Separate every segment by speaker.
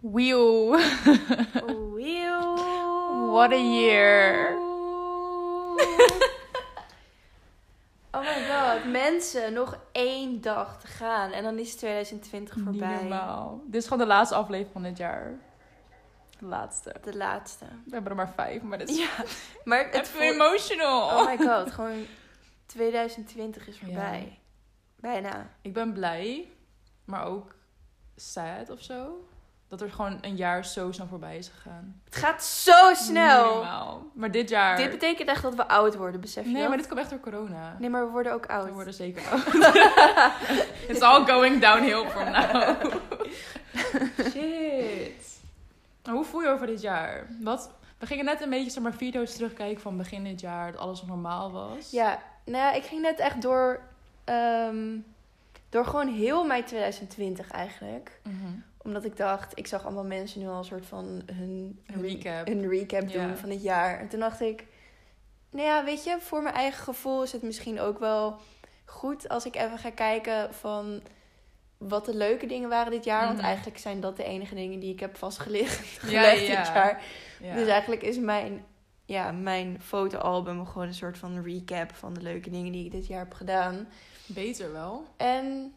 Speaker 1: Wheel.
Speaker 2: Wheel.
Speaker 1: What a year.
Speaker 2: Oh my god, mensen, nog één dag te gaan en dan is 2020
Speaker 1: Niet
Speaker 2: voorbij.
Speaker 1: normaal. Dit is gewoon de laatste aflevering van dit jaar. De laatste.
Speaker 2: De laatste.
Speaker 1: We hebben er maar vijf, maar dit is
Speaker 2: Ja, maar het
Speaker 1: echt
Speaker 2: voelt...
Speaker 1: emotional.
Speaker 2: Oh my god, gewoon 2020 is voorbij.
Speaker 1: Ja.
Speaker 2: Bijna.
Speaker 1: Ik ben blij, maar ook sad of zo. Dat er gewoon een jaar zo snel voorbij is gegaan.
Speaker 2: Het gaat zo
Speaker 1: Niet
Speaker 2: snel.
Speaker 1: normaal. Maar dit jaar...
Speaker 2: Dit betekent echt dat we oud worden, besef je
Speaker 1: Nee,
Speaker 2: dat?
Speaker 1: maar dit komt echt door corona.
Speaker 2: Nee, maar we worden ook
Speaker 1: We
Speaker 2: oud.
Speaker 1: worden zeker oud. It's all going downhill from now. Shit. Maar hoe voel je over dit jaar? Wat, we gingen net een beetje zeg maar, video's terugkijken van begin dit jaar, dat alles nog normaal was.
Speaker 2: Ja, nou ja, ik ging net echt door, ehm, door gewoon heel mijn 2020 eigenlijk.
Speaker 1: Mhm.
Speaker 2: Omdat ik dacht, ik zag allemaal mensen nu al een soort van hun,
Speaker 1: Een recap.
Speaker 2: hun recap
Speaker 1: Ja.
Speaker 2: doen van het jaar. En toen dacht ik, nou ja, weet je, voor mijn eigen gevoel is het misschien ook wel goed als ik even ga kijken van wat de leuke dingen waren dit jaar. Want
Speaker 1: Mhm.
Speaker 2: eigenlijk zijn dat de enige dingen die ik heb vastgelegd
Speaker 1: Ja,
Speaker 2: gelegd
Speaker 1: ja.
Speaker 2: dit jaar.
Speaker 1: Ja.
Speaker 2: Dus eigenlijk is mijn, ja, mijn fotoalbum gewoon een soort van recap van de leuke dingen die ik dit jaar heb gedaan.
Speaker 1: Beter wel.
Speaker 2: En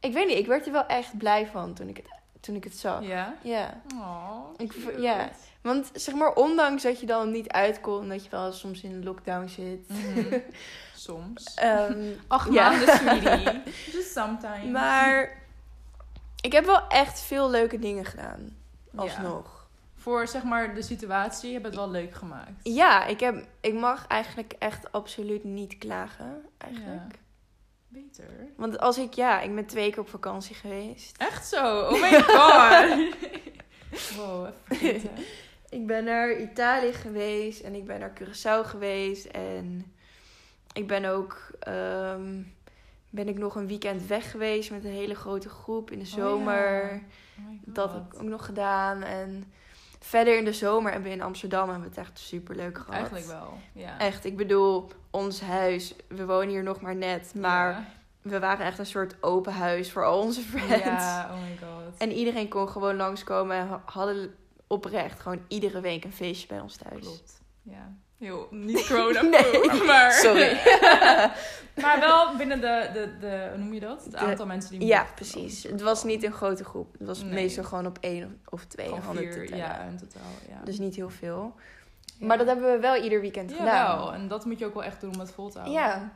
Speaker 2: ik weet niet, ik werd er wel echt blij van toen ik het, toen ik het zag. Ja.
Speaker 1: Ja. Oh,
Speaker 2: Ik v-
Speaker 1: cute.
Speaker 2: ja. Want zeg maar, ondanks dat je dan niet uit kon, dat je wel soms in een lockdown zit.
Speaker 1: Mhm. Soms.
Speaker 2: Ehm,
Speaker 1: Acht
Speaker 2: ja.
Speaker 1: maanden, sweetie. Just sometimes.
Speaker 2: maar ik heb wel echt veel leuke dingen gedaan.
Speaker 1: Ja.
Speaker 2: Alsnog.
Speaker 1: Voor zeg maar de situatie heb je het wel leuk gemaakt.
Speaker 2: Ja, ik, heb, ik mag eigenlijk echt absoluut niet klagen. Eigenlijk.
Speaker 1: Beter.
Speaker 2: Want als ik, ja, ik ben twee keer op vakantie geweest.
Speaker 1: Echt zo? Oh my god. wow, even vergeten.
Speaker 2: Ik ben naar Italië geweest en ik ben naar Curaçao geweest. En ik ben ook, ehm, ben ik nog een weekend weg geweest met een hele grote groep in de
Speaker 1: ja.
Speaker 2: zomer.
Speaker 1: Oh my
Speaker 2: Dat
Speaker 1: god.
Speaker 2: heb ik ook nog gedaan. En verder in de zomer hebben we in Amsterdam hebben we het echt super leuk gehad.
Speaker 1: Eigenlijk wel, ja.
Speaker 2: Echt, ik bedoel, ons huis, we wonen hier nog maar net. Maar we waren echt een soort open huis voor al onze
Speaker 1: Ja,
Speaker 2: friends.
Speaker 1: Ja, oh my god.
Speaker 2: En iedereen kon gewoon langskomen en ha- hadden oprecht gewoon iedere week een feestje bij ons thuis.
Speaker 1: Klopt, ja. Heel niet corona maar...
Speaker 2: Sorry.
Speaker 1: maar wel binnen de, de, de, hoe noem je dat? Het
Speaker 2: De-
Speaker 1: aantal mensen die...
Speaker 2: ja,
Speaker 1: mochten
Speaker 2: precies.
Speaker 1: dan.
Speaker 2: Het was niet een grote groep. Het was
Speaker 1: Nee.
Speaker 2: meestal gewoon op één of twee
Speaker 1: Gewoon
Speaker 2: handen te
Speaker 1: vier,
Speaker 2: tellen.
Speaker 1: ja, in totaal, ja.
Speaker 2: Dus niet heel veel.
Speaker 1: Ja.
Speaker 2: Maar dat hebben we wel ieder weekend gedaan.
Speaker 1: Jawel, en dat moet je ook wel echt doen om het vol te houden.
Speaker 2: Ja.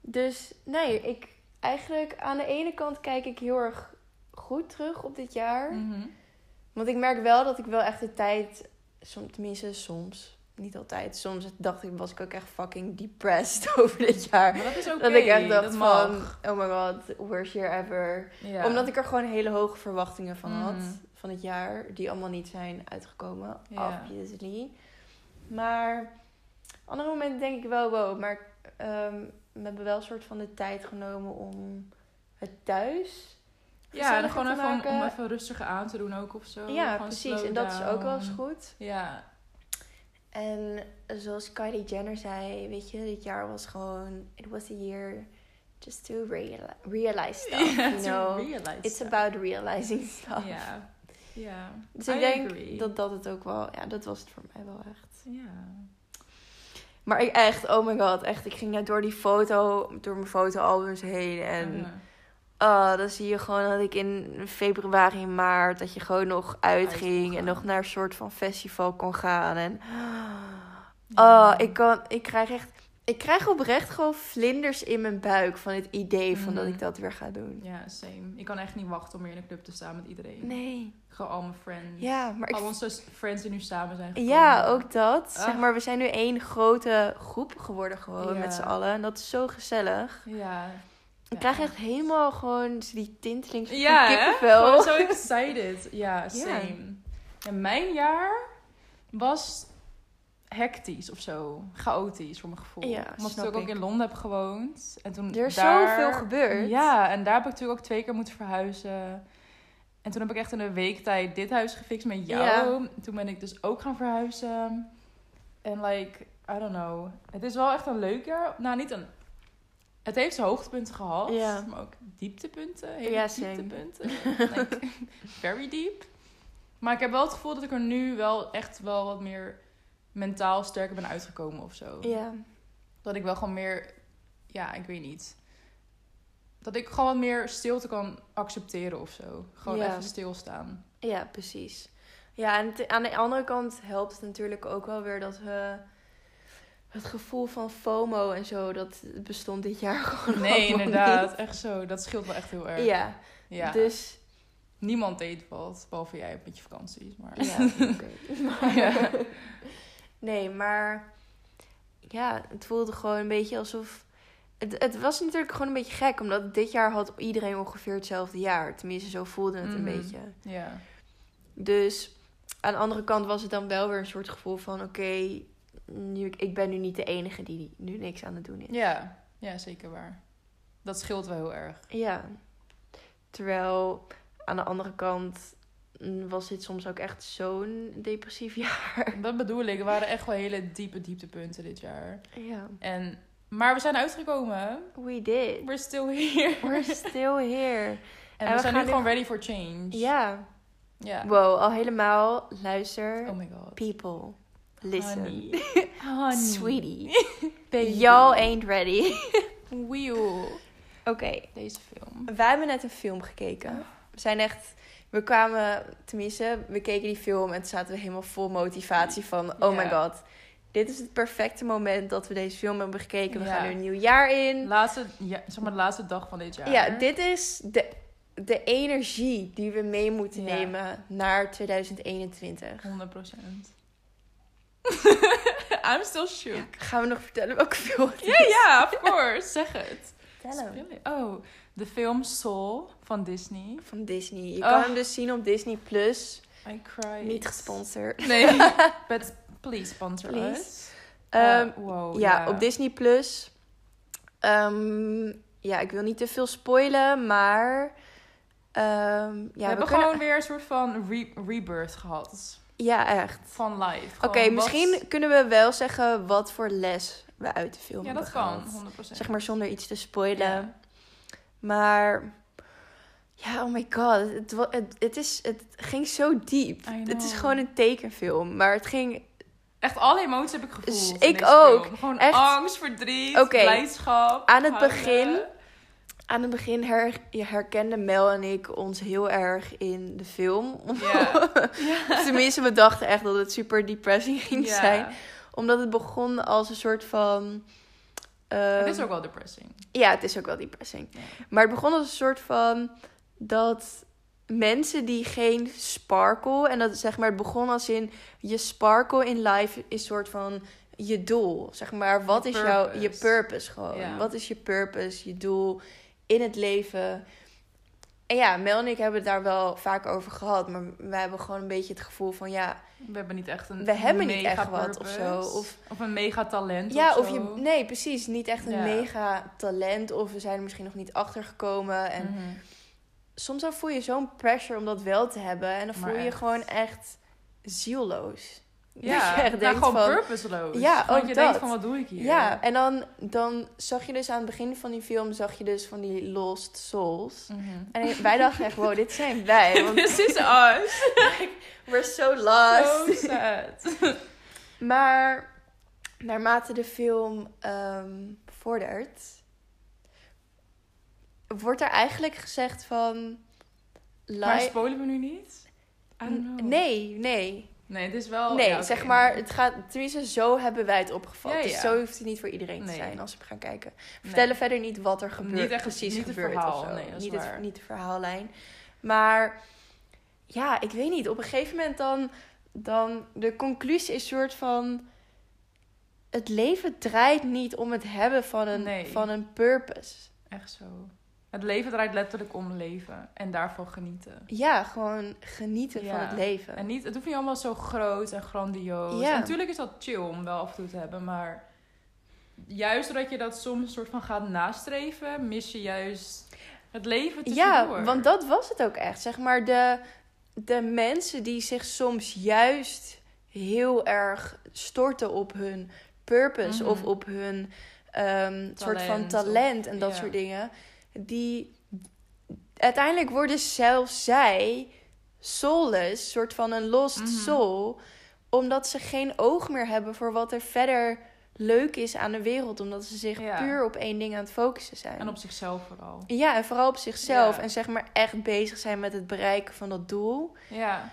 Speaker 2: Dus nee, ik eigenlijk aan de ene kant kijk ik heel erg goed terug op dit jaar.
Speaker 1: Mhm.
Speaker 2: Want ik merk wel dat ik wel echt de tijd, som, tenminste soms, niet altijd, soms dacht ik, was ik ook echt fucking depressed over dit jaar.
Speaker 1: Maar dat is oké,
Speaker 2: dat ik echt dacht
Speaker 1: dat
Speaker 2: van,
Speaker 1: mag.
Speaker 2: oh my god, worst year ever.
Speaker 1: Ja.
Speaker 2: Omdat ik er gewoon hele hoge verwachtingen van had
Speaker 1: Mhm.
Speaker 2: van het jaar. Die allemaal niet zijn uitgekomen,
Speaker 1: Ja.
Speaker 2: obviously. Maar op andere momenten denk ik wel, wow. Maar ehm, we hebben wel een soort van de tijd genomen om het thuis
Speaker 1: Ja, en
Speaker 2: gezelliger
Speaker 1: gewoon
Speaker 2: te
Speaker 1: even om,
Speaker 2: maken.
Speaker 1: om even rustiger aan te doen ook of zo.
Speaker 2: Ja,
Speaker 1: Oh, Gewoon
Speaker 2: precies.
Speaker 1: slow
Speaker 2: En dat is ook wel eens
Speaker 1: down.
Speaker 2: goed.
Speaker 1: Ja,
Speaker 2: En zoals Kylie Jenner zei, weet je, dit jaar was gewoon... It was a year just to reali- realize stuff,
Speaker 1: Ja,
Speaker 2: you
Speaker 1: to
Speaker 2: know.
Speaker 1: realize
Speaker 2: It's
Speaker 1: that.
Speaker 2: about realizing stuff.
Speaker 1: Ja. Ja.
Speaker 2: Dus ik
Speaker 1: I
Speaker 2: denk
Speaker 1: agree.
Speaker 2: dat dat het ook wel... Ja, dat was het voor mij wel echt.
Speaker 1: Ja.
Speaker 2: Maar ik echt, oh my god, echt. Ik ging net door die foto, door mijn fotoalbums heen. En
Speaker 1: Ja.
Speaker 2: ah, dan zie je gewoon dat ik in februari en maart... dat je gewoon nog
Speaker 1: kon
Speaker 2: uitging en
Speaker 1: gaan.
Speaker 2: nog naar een soort van festival kon gaan. En... Oh,
Speaker 1: Ja.
Speaker 2: ik, kan, ik krijg echt... Ik krijg oprecht gewoon vlinders in mijn buik van het idee van dat
Speaker 1: Mhm.
Speaker 2: ik dat weer ga doen.
Speaker 1: Ja, same. Ik kan echt niet wachten om weer in de club te staan met iedereen.
Speaker 2: Nee.
Speaker 1: Gewoon al mijn friends.
Speaker 2: Ja, maar ik...
Speaker 1: Al onze s- friends die nu samen zijn gekomen.
Speaker 2: Ja, ook dat.
Speaker 1: Ah.
Speaker 2: Zeg maar, we zijn nu één grote groep geworden gewoon
Speaker 1: Ja.
Speaker 2: met z'n allen. En dat is zo gezellig.
Speaker 1: Ja.
Speaker 2: Ik kkrijg echt helemaal gewoon die tinteling van
Speaker 1: Ja, hè?
Speaker 2: kippenvel.
Speaker 1: Gewoon zo excited. Ja, same. En mijn jaar was hectisch of zo. Chaotisch voor mijn gevoel.
Speaker 2: Ja,
Speaker 1: Omdat ik
Speaker 2: snap
Speaker 1: natuurlijk ook
Speaker 2: ik.
Speaker 1: in Londen heb gewoond. En toen
Speaker 2: Er is
Speaker 1: daar...
Speaker 2: zoveel gebeurd.
Speaker 1: Ja, en daar heb ik natuurlijk ook twee keer moeten verhuizen. En toen heb ik echt in een week tijd dit huis gefixt met jou.
Speaker 2: Ja.
Speaker 1: Toen ben ik dus ook gaan verhuizen. En like, I don't know. Het is wel echt een leuk jaar. Nou, niet een... Het heeft zijn hoogtepunten gehad.
Speaker 2: Ja.
Speaker 1: Maar ook dieptepunten. Hele
Speaker 2: Ja, same.
Speaker 1: dieptepunten. Like, very deep. Maar ik heb wel het gevoel dat ik er nu wel echt wel wat meer mentaal sterker ben uitgekomen of zo.
Speaker 2: Ja.
Speaker 1: Dat ik wel gewoon meer... Ja, ik weet niet. Dat ik gewoon wat meer stilte kan accepteren of zo. Gewoon
Speaker 2: Ja.
Speaker 1: even stilstaan.
Speaker 2: Ja, precies. Ja, en te- aan de andere kant helpt het natuurlijk ook wel weer dat we het gevoel van FOMO en zo, dat bestond dit jaar gewoon
Speaker 1: Nee,
Speaker 2: allemaal
Speaker 1: inderdaad. Echt zo. Dat scheelt wel echt heel
Speaker 2: niet.
Speaker 1: erg.
Speaker 2: Ja,
Speaker 1: Ja.
Speaker 2: dus
Speaker 1: Niemand deed wat, behalve jij met je vakanties. Maar...
Speaker 2: ja, oké. Maar-
Speaker 1: Ja.
Speaker 2: Nee, maar ja, het voelde gewoon een beetje alsof. Het, het was natuurlijk gewoon een beetje gek, omdat dit jaar had iedereen ongeveer hetzelfde jaar. Tenminste, zo voelde het een
Speaker 1: Mhm.
Speaker 2: beetje.
Speaker 1: ja.
Speaker 2: Dus aan de andere kant was het dan wel weer een soort gevoel van: oké, nu ik ben nu niet de enige die nu niks aan het doen is.
Speaker 1: Ja. ja, zeker waar. Dat scheelt wel heel erg.
Speaker 2: Ja. Terwijl aan de andere kant mm, was dit soms ook echt zo'n depressief jaar.
Speaker 1: Dat bedoel ik. Er waren echt wel hele diepe dieptepunten dit jaar.
Speaker 2: Ja.
Speaker 1: En... Maar we zijn uitgekomen.
Speaker 2: We did.
Speaker 1: We're still here.
Speaker 2: We're still here.
Speaker 1: En, we,
Speaker 2: we gaan
Speaker 1: zijn nu
Speaker 2: nu
Speaker 1: gewoon ready for change.
Speaker 2: Ja.
Speaker 1: Ja.
Speaker 2: Wow, al helemaal. Luister.
Speaker 1: Oh my god.
Speaker 2: People, listen.
Speaker 1: Honey. Honey.
Speaker 2: Sweetie.
Speaker 1: Baby.
Speaker 2: Y'all ain't ready.
Speaker 1: Wheel.
Speaker 2: Oké.
Speaker 1: Deze film.
Speaker 2: Wij hebben net een film gekeken. We zijn echt... We kwamen... Tenminste, we keken die film en toen zaten we helemaal vol motivatie van... Oh my
Speaker 1: Ja.
Speaker 2: god, dit is het perfecte moment dat we deze film hebben gekeken. We
Speaker 1: Ja.
Speaker 2: gaan er een nieuw jaar in.
Speaker 1: Laatste, ja, zeg maar de laatste dag van dit jaar.
Speaker 2: Ja, dit is de, de energie die we mee moeten
Speaker 1: Ja.
Speaker 2: nemen naar 2021.
Speaker 1: 100 I'm still shook.
Speaker 2: Gaan we nog vertellen welke film het is?
Speaker 1: Ja, ja, of course. Zeg het.
Speaker 2: Vertel hem.
Speaker 1: Spill it. Oh, de film Soul van Disney.
Speaker 2: Van Disney. Je
Speaker 1: Oh.
Speaker 2: kan hem dus zien op Disney+. Plus.
Speaker 1: I cry.
Speaker 2: Niet gesponsord.
Speaker 1: Nee, but please sponsor
Speaker 2: Please.
Speaker 1: us.
Speaker 2: Ehm,
Speaker 1: Oh, wow,
Speaker 2: ja, op Disney Plus. Ehm, ja, ik wil niet te veel spoilen, maar. ehm, ja,
Speaker 1: we, hebben
Speaker 2: kunnen-
Speaker 1: gewoon weer een soort van re- rebirth gehad.
Speaker 2: Ja, echt.
Speaker 1: Van live.
Speaker 2: Oké, misschien kunnen we wel zeggen wat voor les we uit de film
Speaker 1: Ja,
Speaker 2: hebben
Speaker 1: dat kan.
Speaker 2: gehaald.
Speaker 1: 100
Speaker 2: Zeg maar zonder iets te spoilen.
Speaker 1: Ja.
Speaker 2: Maar. Ja, oh my god. Het, wa- het, het, is, het ging zo diep.
Speaker 1: I
Speaker 2: Het is
Speaker 1: know.
Speaker 2: gewoon een tekenfilm. Maar het ging.
Speaker 1: Echt alle emoties heb ik gevoeld.
Speaker 2: Dus
Speaker 1: in
Speaker 2: ik
Speaker 1: deze
Speaker 2: ook.
Speaker 1: film. Gewoon
Speaker 2: Echt.
Speaker 1: angst, verdriet,
Speaker 2: Oké.
Speaker 1: blijdschap.
Speaker 2: Aan het
Speaker 1: huilen.
Speaker 2: begin- Aan het begin her, herkenden Mel en ik ons heel erg in de film.
Speaker 1: Ja. ja.
Speaker 2: Tenminste, we dachten echt dat het super depressing ging
Speaker 1: Ja.
Speaker 2: zijn. Omdat het begon als een soort van... ehm,
Speaker 1: Het is ook wel depressing.
Speaker 2: Ja, het is ook wel depressing.
Speaker 1: Ja.
Speaker 2: Maar het begon als een soort van dat mensen die geen sparkle... En dat zeg maar, het begon als in je sparkle in life is soort van je doel. Zeg maar, wat
Speaker 1: Je
Speaker 2: is jouw... Je
Speaker 1: purpose.
Speaker 2: purpose gewoon.
Speaker 1: Ja.
Speaker 2: Wat is je purpose, je doel in het leven... En ja, Mel en ik hebben het daar wel vaak over gehad. Maar wij hebben gewoon een beetje het gevoel van... ja
Speaker 1: We hebben niet echt een
Speaker 2: We hebben niet
Speaker 1: mega
Speaker 2: echt wat of
Speaker 1: purpose.
Speaker 2: zo. Of,
Speaker 1: Of een mega talent
Speaker 2: ja,
Speaker 1: of,
Speaker 2: of
Speaker 1: zo.
Speaker 2: je. Nee, precies. Niet echt een
Speaker 1: Ja.
Speaker 2: mega talent. Of we zijn er misschien nog niet achter gekomen. En
Speaker 1: Mhm.
Speaker 2: soms dan voel je zo'n pressure om dat wel te hebben. En dan
Speaker 1: Maar
Speaker 2: voel je je
Speaker 1: echt.
Speaker 2: gewoon echt zielloos.
Speaker 1: Ja,
Speaker 2: dat je echt
Speaker 1: nou,
Speaker 2: denkt
Speaker 1: gewoon
Speaker 2: van.
Speaker 1: purposeloos.
Speaker 2: Ja,
Speaker 1: Gewoon
Speaker 2: ook
Speaker 1: je
Speaker 2: dat.
Speaker 1: denkt van, wat doe ik hier?
Speaker 2: Ja, en dan, dan zag je dus aan het begin van die film, zag je dus van die Lost Souls.
Speaker 1: Mhm.
Speaker 2: En wij dachten echt, wow, dit zijn wij. Want
Speaker 1: This is us.
Speaker 2: we're so
Speaker 1: So
Speaker 2: lost.
Speaker 1: sad.
Speaker 2: Maar naarmate de film ehm, vordert, wordt er eigenlijk gezegd van. li-
Speaker 1: Maar spoilen we nu niet? I don't
Speaker 2: N-
Speaker 1: know.
Speaker 2: nee, nee.
Speaker 1: Nee, het is wel...
Speaker 2: nee,
Speaker 1: Oh, ja, oké.
Speaker 2: zeg maar, het gaat, tenminste, zo hebben wij het opgevat.
Speaker 1: Ja, ja.
Speaker 2: Dus zo hoeft het niet voor iedereen te
Speaker 1: Nee.
Speaker 2: zijn als we gaan kijken.
Speaker 1: Nee.
Speaker 2: We vertellen verder niet wat er gebeurt,
Speaker 1: Niet echt-
Speaker 2: precies
Speaker 1: niet het
Speaker 2: gebeurt
Speaker 1: verhaal,
Speaker 2: of zo.
Speaker 1: nee, dat is
Speaker 2: niet,
Speaker 1: waar.
Speaker 2: Het, niet de verhaallijn. Maar ja, ik weet niet. Op een gegeven moment dan, dan de conclusie is soort van het leven draait niet om het hebben van een,
Speaker 1: Nee.
Speaker 2: van een purpose.
Speaker 1: Echt zo. Het leven draait letterlijk om leven. En daarvan genieten.
Speaker 2: Ja, gewoon genieten
Speaker 1: Ja.
Speaker 2: van het leven.
Speaker 1: En niet, het hoeft niet allemaal zo groot en grandioos.
Speaker 2: Ja.
Speaker 1: En natuurlijk is dat chill om wel af en toe te hebben, maar... Juist doordat je dat soms soort van gaat nastreven, mis je juist het leven tussendoor.
Speaker 2: Ja, want dat was het ook echt. Zeg maar, de, de mensen die zich soms juist heel erg storten op hun purpose
Speaker 1: Mhm.
Speaker 2: of op hun ehm, soort van
Speaker 1: Talent of-
Speaker 2: talent en dat
Speaker 1: ja.
Speaker 2: soort dingen. Die uiteindelijk worden zelfs zij soulless, soort van een lost
Speaker 1: Mhm.
Speaker 2: soul, omdat ze geen oog meer hebben voor wat er verder leuk is aan de wereld, omdat ze zich
Speaker 1: Ja.
Speaker 2: puur op één ding aan het focussen zijn.
Speaker 1: En op zichzelf vooral.
Speaker 2: Ja, en vooral op zichzelf
Speaker 1: Ja.
Speaker 2: en zeg maar echt bezig zijn met het bereiken van dat doel.
Speaker 1: Ja.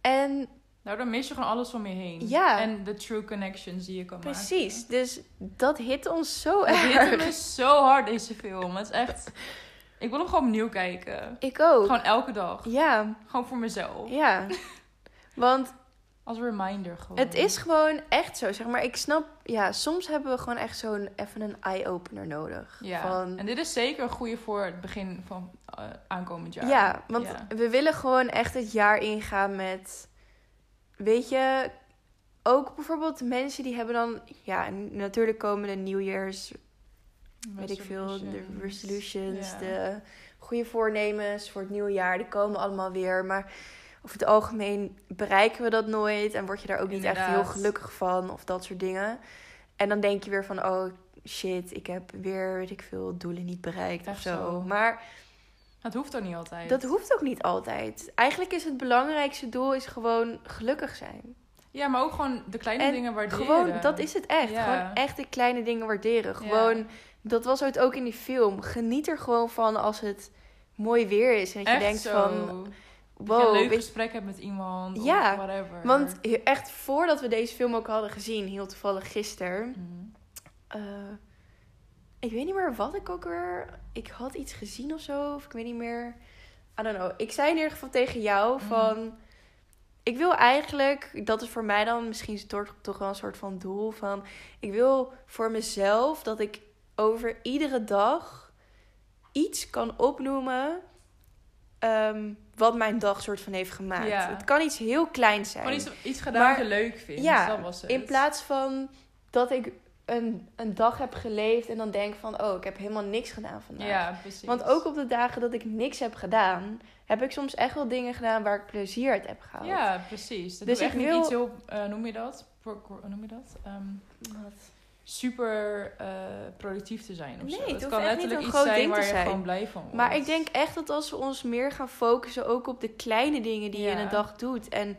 Speaker 2: En
Speaker 1: Nou, dan mis je gewoon alles om je heen.
Speaker 2: Ja.
Speaker 1: En de true connections die je kan
Speaker 2: Precies, dus dat hit ons zo
Speaker 1: maken. Precies. Dit
Speaker 2: erg.
Speaker 1: is zo hard, deze film. Het is echt... Ik wil hem gewoon opnieuw kijken.
Speaker 2: Ik ook.
Speaker 1: Gewoon elke dag.
Speaker 2: Ja,
Speaker 1: Gewoon voor mezelf.
Speaker 2: ja. Want
Speaker 1: Als reminder gewoon.
Speaker 2: het is gewoon echt zo, zeg maar. Ik snap, ja, soms hebben we gewoon echt zo'n even een eye-opener nodig.
Speaker 1: Ja.
Speaker 2: Van,
Speaker 1: En dit is zeker goed voor het begin van eh, aankomend jaar.
Speaker 2: ja, want
Speaker 1: Ja.
Speaker 2: we willen gewoon echt het jaar ingaan met, weet je, ook bijvoorbeeld mensen die hebben dan, ja, en natuurlijk komen de nieuwjaars, weet ik veel, de
Speaker 1: Resolutions.
Speaker 2: resolutions,
Speaker 1: Ja.
Speaker 2: de goede voornemens voor het nieuwe jaar, die komen allemaal weer. Maar over het algemeen bereiken we dat nooit en word je daar ook niet echt heel
Speaker 1: Inderdaad.
Speaker 2: gelukkig van of dat soort dingen. En dan denk je weer van, oh shit, ik heb weer, weet ik veel, doelen niet bereikt of
Speaker 1: Echt
Speaker 2: zo.
Speaker 1: zo.
Speaker 2: Maar
Speaker 1: Dat hoeft ook niet altijd.
Speaker 2: dat hoeft ook niet altijd. Eigenlijk is het belangrijkste doel is gewoon gelukkig zijn.
Speaker 1: Ja, maar ook gewoon de kleine
Speaker 2: En
Speaker 1: dingen waarderen.
Speaker 2: Gewoon, dat is het echt.
Speaker 1: Ja.
Speaker 2: Gewoon echt de kleine dingen waarderen.
Speaker 1: Ja.
Speaker 2: Gewoon, dat was het ook in die film. Geniet er gewoon van als het mooi weer is. En dat je
Speaker 1: Echt
Speaker 2: denkt
Speaker 1: zo.
Speaker 2: van,
Speaker 1: dat je een
Speaker 2: Wow,
Speaker 1: leuk
Speaker 2: weet-
Speaker 1: gesprek hebt met iemand
Speaker 2: Ja,
Speaker 1: of whatever.
Speaker 2: want he- echt voordat we deze film ook hadden gezien, heel toevallig gisteren.
Speaker 1: Mhm.
Speaker 2: eh, ik weet niet meer wat ik ook weer. Ik had iets gezien of zo, of ik weet niet meer. I don't know. Ik zei in ieder geval tegen jou
Speaker 1: Mhm.
Speaker 2: van. Ik wil eigenlijk, dat is voor mij dan misschien toch, toch wel een soort van doel van. Ik wil voor mezelf dat ik over iedere dag iets kan opnoemen. ehm, wat mijn dag soort van heeft gemaakt.
Speaker 1: Ja.
Speaker 2: Het kan iets heel kleins zijn.
Speaker 1: Gewoon iets, iets gedaan
Speaker 2: Maar-
Speaker 1: wat je leuk vindt.
Speaker 2: ja,
Speaker 1: dat was het.
Speaker 2: In plaats van dat ik een, een dag heb geleefd en dan denk van, oh, ik heb helemaal niks gedaan vandaag.
Speaker 1: Ja, precies.
Speaker 2: Want ook op de dagen dat ik niks heb gedaan, heb ik soms echt wel dingen gedaan waar ik plezier uit heb gehaald.
Speaker 1: Ja, precies. Dat
Speaker 2: Dus
Speaker 1: dus echt
Speaker 2: ik
Speaker 1: niet
Speaker 2: wil-
Speaker 1: iets heel... eh, noem je dat? Pro- pro- noem je dat? Ehm,
Speaker 2: Wat?
Speaker 1: super eh, productief te zijn of
Speaker 2: Nee,
Speaker 1: zo.
Speaker 2: het
Speaker 1: Het,
Speaker 2: hoeft
Speaker 1: kan
Speaker 2: echt niet
Speaker 1: letterlijk
Speaker 2: een
Speaker 1: iets
Speaker 2: groot
Speaker 1: zijn
Speaker 2: ding te
Speaker 1: waar je
Speaker 2: zijn.
Speaker 1: gewoon blij van wordt.
Speaker 2: Maar ik denk echt dat als we ons meer gaan focussen ook op de kleine dingen die je in
Speaker 1: Ja.
Speaker 2: een dag doet. En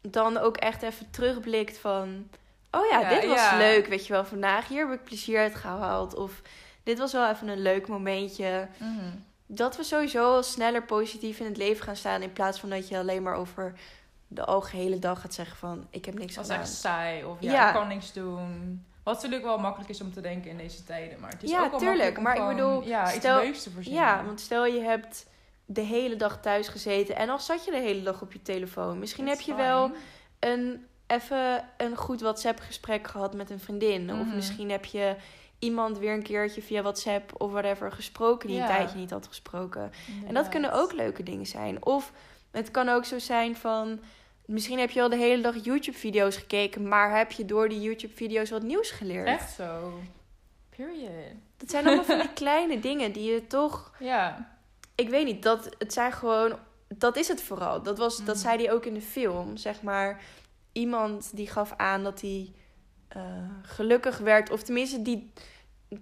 Speaker 2: dan ook echt even terugblikt van, oh ja,
Speaker 1: Ja,
Speaker 2: dit was
Speaker 1: ja.
Speaker 2: leuk, weet je wel. Vandaag hier heb ik plezier uit gehaald. Of dit was wel even een leuk momentje.
Speaker 1: Mhm.
Speaker 2: dat we sowieso al sneller positief in het leven gaan staan. In plaats van dat je alleen maar over de algehele dag gaat zeggen van ik heb niks
Speaker 1: Dat is
Speaker 2: gedaan.
Speaker 1: echt saai. Of ja,
Speaker 2: Ja.
Speaker 1: ik kan niks doen. Wat natuurlijk wel makkelijk is om te denken in deze tijden. Maar het is
Speaker 2: Ja,
Speaker 1: ook wel
Speaker 2: tuurlijk,
Speaker 1: makkelijk om
Speaker 2: maar ik
Speaker 1: gewoon,
Speaker 2: bedoel,
Speaker 1: ja,
Speaker 2: stel-
Speaker 1: iets leuks te verzinnen.
Speaker 2: Ja, want stel je hebt de hele dag thuis gezeten en al zat je de hele dag op je telefoon. Misschien
Speaker 1: It's
Speaker 2: heb je
Speaker 1: fine.
Speaker 2: wel een, even een goed WhatsApp gesprek gehad met een vriendin. Of
Speaker 1: Mhm.
Speaker 2: misschien heb je iemand weer een keertje via WhatsApp of whatever gesproken die
Speaker 1: Ja.
Speaker 2: een tijdje niet had gesproken. En dat
Speaker 1: Inderdaad.
Speaker 2: kunnen ook leuke dingen zijn. Of het kan ook zo zijn van. Misschien heb je al de hele dag YouTube-video's gekeken, maar heb je door die YouTube-video's wat nieuws geleerd?
Speaker 1: Echt zo. Period.
Speaker 2: Dat zijn allemaal van die kleine dingen die je toch.
Speaker 1: Ja.
Speaker 2: Ik weet niet, dat, het zijn gewoon. Dat is het vooral. Dat, was, dat
Speaker 1: Mm.
Speaker 2: zei hij ook in de film. Zeg maar, iemand die gaf aan dat hij eh, gelukkig werd. Of tenminste, die.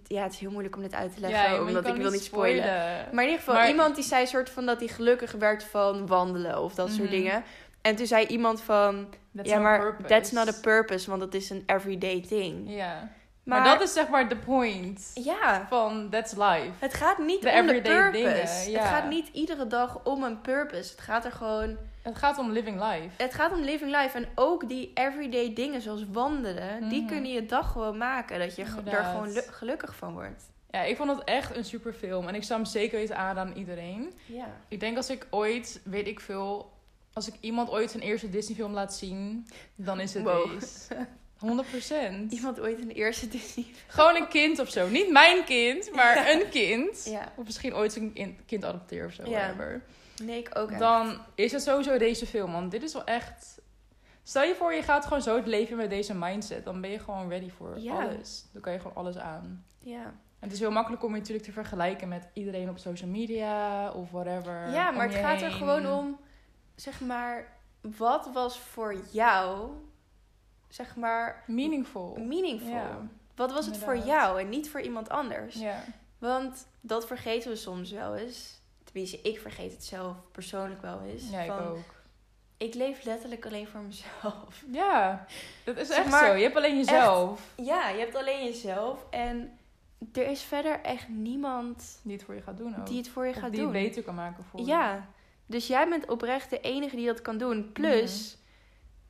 Speaker 2: Ja, het is heel moeilijk om dit uit te leggen,
Speaker 1: ja, maar je
Speaker 2: omdat
Speaker 1: kan
Speaker 2: ik wil niet spoilen. Maar in ieder geval,
Speaker 1: Maar-
Speaker 2: iemand die zei soort van dat hij gelukkig werd van wandelen of dat soort
Speaker 1: Mhm.
Speaker 2: dingen. En toen zei iemand van,
Speaker 1: That's
Speaker 2: ja
Speaker 1: not
Speaker 2: maar
Speaker 1: purpose.
Speaker 2: that's not a purpose, want dat is een everyday thing.
Speaker 1: Ja. Maar, dat is zeg maar de point
Speaker 2: Ja,
Speaker 1: van that's life.
Speaker 2: het gaat niet
Speaker 1: De
Speaker 2: om de
Speaker 1: everyday
Speaker 2: purpose.
Speaker 1: dingen, ja.
Speaker 2: Het gaat niet iedere dag om een purpose. Het gaat er gewoon,
Speaker 1: Het gaat om living life.
Speaker 2: het gaat om living life. En ook die everyday dingen zoals wandelen, die
Speaker 1: Mhm.
Speaker 2: kunnen je dag gewoon maken. Dat je ge- daar
Speaker 1: Inderdaad.
Speaker 2: gewoon lu- gelukkig van wordt.
Speaker 1: Ja, ik vond het echt een super film. En ik zou hem zeker weten aanraden aan iedereen.
Speaker 2: Ja.
Speaker 1: Ik denk als ik ooit, weet ik veel... Als ik iemand ooit zijn eerste Disney film laat zien... Dan is het
Speaker 2: Wow.
Speaker 1: deze. 100
Speaker 2: Iemand ooit in de eerste Disney.
Speaker 1: Gewoon een kind of zo. Niet mijn kind, maar
Speaker 2: Ja.
Speaker 1: een kind.
Speaker 2: Ja.
Speaker 1: Of misschien ooit een kin- kind adopteer of zo.
Speaker 2: Ja.
Speaker 1: whatever.
Speaker 2: Nee, ik ook echt.
Speaker 1: Dan is het sowieso deze film. Want dit is wel echt... Stel je voor, je gaat gewoon zo het leven in met deze mindset. Dan ben je gewoon ready voor
Speaker 2: Ja.
Speaker 1: alles. Dan kan je gewoon alles aan.
Speaker 2: Ja.
Speaker 1: En het is heel makkelijk om je natuurlijk te vergelijken met iedereen op social media of whatever.
Speaker 2: Ja,
Speaker 1: eh, om
Speaker 2: maar het
Speaker 1: je
Speaker 2: gaat er
Speaker 1: heen. eh.
Speaker 2: gewoon om, zeg maar, wat was voor jou zeg maar,
Speaker 1: Meaningful.
Speaker 2: meaningful.
Speaker 1: Ja.
Speaker 2: Wat was het voor
Speaker 1: Inderdaad.
Speaker 2: jou en niet voor iemand anders?
Speaker 1: Ja.
Speaker 2: Want dat vergeten we soms wel eens. Tenminste, ik vergeet het zelf persoonlijk wel eens.
Speaker 1: ja, ik
Speaker 2: van,
Speaker 1: ook.
Speaker 2: ik leef letterlijk alleen voor mezelf.
Speaker 1: Ja, dat is
Speaker 2: Zeg
Speaker 1: echt
Speaker 2: maar,
Speaker 1: zo. Je hebt alleen jezelf.
Speaker 2: Ja, je hebt alleen jezelf. En er is verder echt niemand
Speaker 1: Die het voor je gaat doen ook.
Speaker 2: die het voor je
Speaker 1: Of
Speaker 2: gaat
Speaker 1: Oh, die
Speaker 2: doen.
Speaker 1: het beter kan maken voor je.
Speaker 2: Ja, dus jij bent oprecht de enige die dat kan doen. Plus,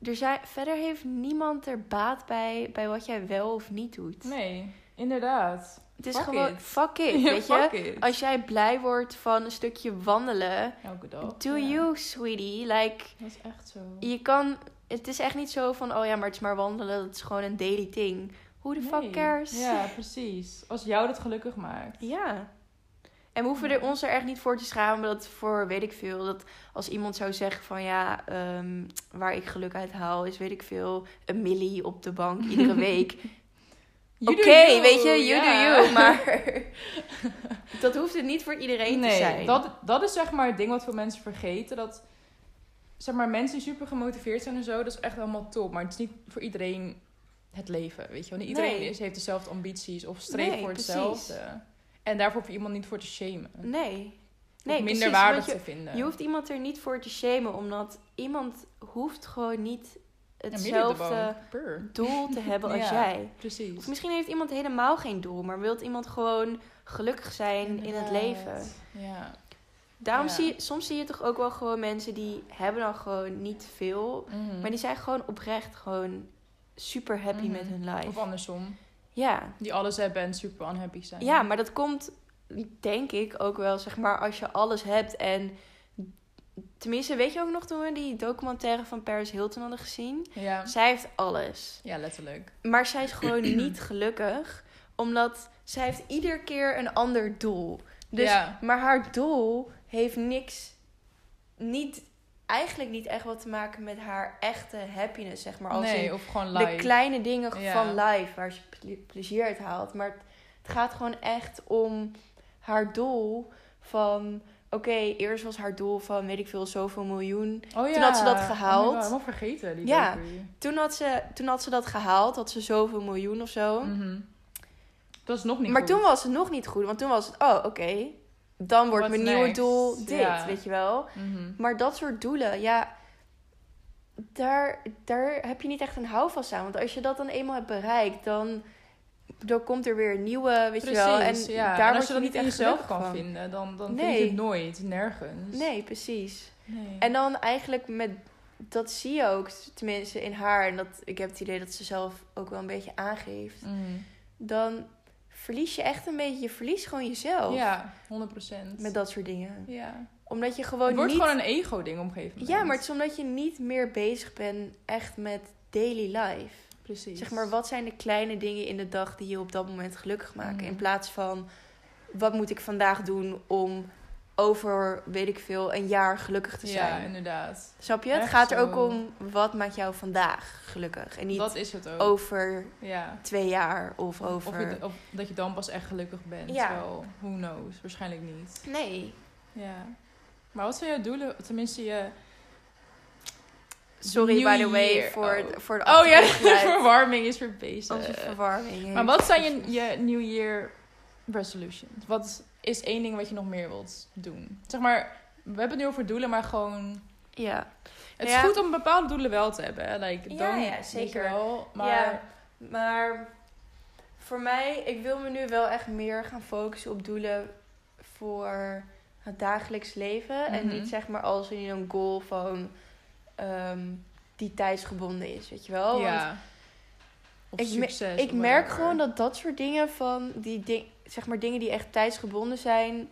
Speaker 2: er zijn, verder heeft niemand er baat bij, bij wat jij wel of niet doet.
Speaker 1: Nee, inderdaad.
Speaker 2: het is
Speaker 1: fuck
Speaker 2: gewoon,
Speaker 1: it.
Speaker 2: fuck it,
Speaker 1: Ja,
Speaker 2: weet
Speaker 1: fuck
Speaker 2: je.
Speaker 1: it.
Speaker 2: Als jij blij wordt van een stukje wandelen,
Speaker 1: Elke dag.
Speaker 2: do
Speaker 1: Oh, ja.
Speaker 2: you, sweetie. Like,
Speaker 1: Dat is echt zo.
Speaker 2: je kan, het is echt niet zo van, oh ja, maar het is maar wandelen, dat is gewoon een daily thing. Who the
Speaker 1: Nee.
Speaker 2: fuck cares?
Speaker 1: Ja, precies. Als jou dat gelukkig maakt.
Speaker 2: Ja. En we hoeven er ons er echt niet voor te schamen dat voor, weet ik veel, dat als iemand zou zeggen van ja, ehm, waar ik geluk uit haal is, weet ik veel, een millie op de bank iedere week.
Speaker 1: You
Speaker 2: Oké,
Speaker 1: do you,
Speaker 2: weet je, you
Speaker 1: ja.
Speaker 2: do you, maar dat hoeft het niet voor iedereen te zijn.
Speaker 1: Dat, dat is zeg maar het ding wat veel mensen vergeten. Dat zeg maar, mensen die super gemotiveerd zijn en zo, dat is echt allemaal top. Maar het is niet voor iedereen het leven, weet je wel. Niet iedereen
Speaker 2: Nee.
Speaker 1: is, heeft dezelfde ambities of streeft
Speaker 2: Nee,
Speaker 1: voor
Speaker 2: precies.
Speaker 1: hetzelfde. En daarvoor hoef je iemand niet voor te shamen.
Speaker 2: Nee.
Speaker 1: Nee,
Speaker 2: Nee,
Speaker 1: of minder
Speaker 2: precies,
Speaker 1: waardig
Speaker 2: want je,
Speaker 1: te vinden.
Speaker 2: je hoeft iemand er niet voor te shamen, omdat iemand hoeft gewoon niet
Speaker 1: En midden op de
Speaker 2: hetzelfde
Speaker 1: bank, purr.
Speaker 2: doel te hebben als
Speaker 1: Ja.
Speaker 2: jij. Of
Speaker 1: Precies.
Speaker 2: misschien heeft iemand helemaal geen doel, maar wilt iemand gewoon gelukkig zijn in het
Speaker 1: Inderdaad.
Speaker 2: leven.
Speaker 1: Ja.
Speaker 2: Daarom
Speaker 1: Ja.
Speaker 2: zie je, soms zie je toch ook wel gewoon mensen die hebben dan gewoon niet veel,
Speaker 1: Mhm.
Speaker 2: maar die zijn gewoon oprecht gewoon super happy
Speaker 1: Mhm.
Speaker 2: met hun life.
Speaker 1: Of andersom.
Speaker 2: Ja.
Speaker 1: Die alles hebben en super unhappy zijn.
Speaker 2: ja, maar dat komt denk ik ook wel, zeg maar, als je alles hebt en tenminste, weet je ook nog toen we die documentaire van Paris Hilton hadden gezien?
Speaker 1: Ja,
Speaker 2: Zij heeft alles.
Speaker 1: ja letterlijk.
Speaker 2: Maar zij is gewoon niet gelukkig. Omdat zij heeft iedere keer een ander doel. Dus,
Speaker 1: Ja.
Speaker 2: Maar haar doel heeft niks... Niet, eigenlijk niet echt wat te maken met haar echte happiness, zeg maar. Als
Speaker 1: nee,
Speaker 2: in
Speaker 1: of gewoon
Speaker 2: de
Speaker 1: live.
Speaker 2: kleine dingen
Speaker 1: Ja.
Speaker 2: van life waar ze ple- plezier uit haalt. Maar het- het gaat gewoon echt om haar doel van... Oké, eerst was haar doel van, weet ik veel, zoveel miljoen.
Speaker 1: Oh ja.
Speaker 2: Toen had ze dat
Speaker 1: Oh my God,
Speaker 2: gehaald.
Speaker 1: helemaal vergeten, die
Speaker 2: Ja.
Speaker 1: docu.
Speaker 2: Toen had, ze, toen had ze dat gehaald, had ze zoveel miljoen of zo.
Speaker 1: Mhm. Dat is nog niet
Speaker 2: maar
Speaker 1: goed.
Speaker 2: toen was het nog niet goed, want toen was het, oh oké, dan wordt
Speaker 1: What's
Speaker 2: mijn nieuwe
Speaker 1: next?
Speaker 2: doel dit,
Speaker 1: Ja.
Speaker 2: weet je wel.
Speaker 1: Mhm.
Speaker 2: Maar dat soort doelen, ja, daar, daar heb je niet echt een houvast aan. Want als je dat dan eenmaal hebt bereikt, dan, dan komt er weer een nieuwe, weet je wel.
Speaker 1: Precies,
Speaker 2: En
Speaker 1: ja.
Speaker 2: daar
Speaker 1: En
Speaker 2: word
Speaker 1: als je dat niet in
Speaker 2: echt
Speaker 1: jezelf
Speaker 2: gelukkig
Speaker 1: kan
Speaker 2: van.
Speaker 1: vinden, dus- dan, dan
Speaker 2: Nee.
Speaker 1: vind je het nooit, nergens.
Speaker 2: Nee, precies.
Speaker 1: Nee.
Speaker 2: En dan eigenlijk met, dat zie je ook, tenminste in haar. En dat, ik heb het idee dat ze zelf ook wel een beetje aangeeft.
Speaker 1: Mhm.
Speaker 2: Dan verlies je echt een beetje, je verliest gewoon jezelf.
Speaker 1: Ja, 100 procent.
Speaker 2: Oh. Met dat soort dingen.
Speaker 1: Ja.
Speaker 2: Omdat je gewoon
Speaker 1: Het wordt
Speaker 2: niet...
Speaker 1: gewoon een ego-ding op een gegeven moment.
Speaker 2: Ja, maar het is omdat je niet meer bezig bent echt met daily life.
Speaker 1: Precies.
Speaker 2: Zeg maar, wat zijn de kleine dingen in de dag die je op dat moment gelukkig maken?
Speaker 1: Mhm.
Speaker 2: In plaats van, wat moet ik vandaag doen om over, weet ik veel, een jaar gelukkig te
Speaker 1: Ja,
Speaker 2: zijn?
Speaker 1: inderdaad.
Speaker 2: Snap je? Het
Speaker 1: echt
Speaker 2: gaat er
Speaker 1: zo.
Speaker 2: ook om, wat maakt jou vandaag gelukkig? En niet
Speaker 1: Dat is het ook.
Speaker 2: over
Speaker 1: Ja.
Speaker 2: twee jaar of over...
Speaker 1: Of, je, of dat je dan pas echt gelukkig bent.
Speaker 2: Ja.
Speaker 1: Terwijl, who knows? Waarschijnlijk niet.
Speaker 2: Nee,
Speaker 1: Ja. Maar wat zijn jouw doelen? Tenminste, je...
Speaker 2: sorry
Speaker 1: New
Speaker 2: by the way
Speaker 1: Year.
Speaker 2: voor,
Speaker 1: Oh.
Speaker 2: het, voor de
Speaker 1: Oh ja, de
Speaker 2: achtergrondgeluid.
Speaker 1: verwarming is weer bezig.
Speaker 2: Onze verwarming.
Speaker 1: Maar wat zijn je, je New Year resolutions? Wat is één ding wat je nog meer wilt doen? Zeg maar, we hebben het nu over doelen, maar gewoon...
Speaker 2: Ja.
Speaker 1: Het
Speaker 2: Ja.
Speaker 1: is goed om bepaalde doelen wel te hebben. hè. Like,
Speaker 2: Ja,
Speaker 1: dan,
Speaker 2: ja,
Speaker 1: weet je
Speaker 2: zeker.
Speaker 1: Wel, maar
Speaker 2: Ja. Maar voor mij, ik wil me nu wel echt meer gaan focussen op doelen voor het dagelijks leven. En
Speaker 1: Mhm.
Speaker 2: niet zeg maar als in een goal van ehm, die tijdsgebonden is, weet je wel. Want
Speaker 1: ja. Of
Speaker 2: Oh, ik me-
Speaker 1: succes.
Speaker 2: ik
Speaker 1: of
Speaker 2: merk
Speaker 1: whatever.
Speaker 2: gewoon dat dat soort dingen van die ding, zeg maar dingen die echt tijdsgebonden zijn.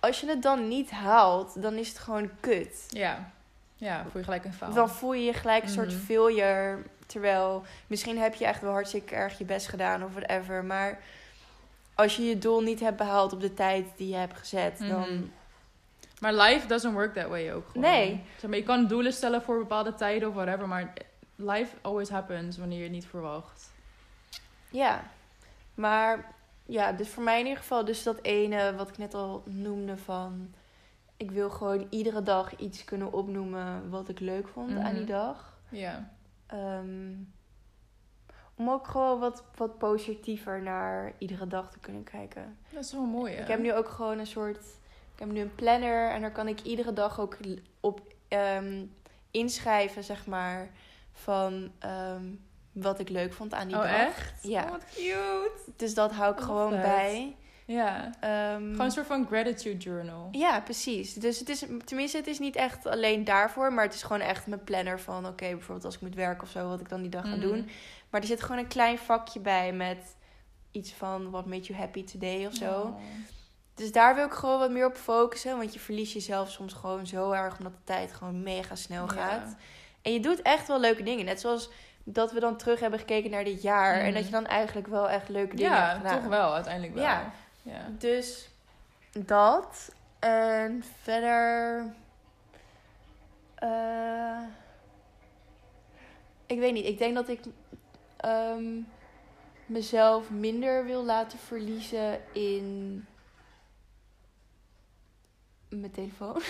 Speaker 2: Als je het dan niet haalt, dan is het gewoon kut.
Speaker 1: Ja. Ja, voel je gelijk een faal.
Speaker 2: Dan voel je je gelijk een soort
Speaker 1: Mhm.
Speaker 2: failure. Terwijl misschien heb je echt wel hartstikke erg je best gedaan of whatever. Maar als je je doel niet hebt behaald op de tijd die je hebt gezet,
Speaker 1: Mhm.
Speaker 2: dan.
Speaker 1: Maar life doesn't work that way ook gewoon.
Speaker 2: Nee.
Speaker 1: Zeg maar, je kan doelen stellen voor bepaalde tijden of whatever, maar life always happens wanneer je het niet verwacht.
Speaker 2: Ja. Maar ja, dus voor mij in ieder geval, dus dat ene wat ik net al noemde van. Ik wil gewoon iedere dag iets kunnen opnoemen wat ik leuk vond aan die
Speaker 1: Mhm.
Speaker 2: dag.
Speaker 1: Ja.
Speaker 2: ehm, om ook gewoon wat, wat positiever naar iedere dag te kunnen kijken.
Speaker 1: Dat is wel mooi, hè?
Speaker 2: Ik heb nu ook gewoon een soort. Ik heb nu een planner en daar kan ik iedere dag ook l- op ehm, inschrijven, zeg maar. Van ehm, wat ik leuk vond aan die
Speaker 1: oh,
Speaker 2: dag.
Speaker 1: echt?
Speaker 2: Ja.
Speaker 1: Oh, wat cute.
Speaker 2: Dus dat hou ik
Speaker 1: Wat
Speaker 2: gewoon
Speaker 1: vet.
Speaker 2: bij.
Speaker 1: Ja.
Speaker 2: Ehm,
Speaker 1: Gewoon een soort van gratitude journal.
Speaker 2: Ja, precies. Dus het is, tenminste, het is niet echt alleen daarvoor, maar het is gewoon echt mijn planner van, oké, bijvoorbeeld als ik moet werken of zo, wat ik dan die dag ga
Speaker 1: Mm.
Speaker 2: doen. Maar er zit gewoon een klein vakje bij met iets van what made you happy today of zo.
Speaker 1: Oh.
Speaker 2: Dus daar wil ik gewoon wat meer op focussen, want je verliest jezelf soms gewoon zo erg omdat de tijd gewoon mega snel
Speaker 1: Ja.
Speaker 2: gaat. En je doet echt wel leuke dingen, net zoals dat we dan terug hebben gekeken naar dit jaar en
Speaker 1: Mm.
Speaker 2: dat je dan eigenlijk wel echt leuke dingen hebt
Speaker 1: Ja,
Speaker 2: gedaan.
Speaker 1: toch wel, uiteindelijk wel.
Speaker 2: Ja.
Speaker 1: ja.
Speaker 2: Dus dat. En verder. eh, ik weet niet. Ik denk dat ik ehm, mezelf minder wil laten verliezen in. Mijn telefoon.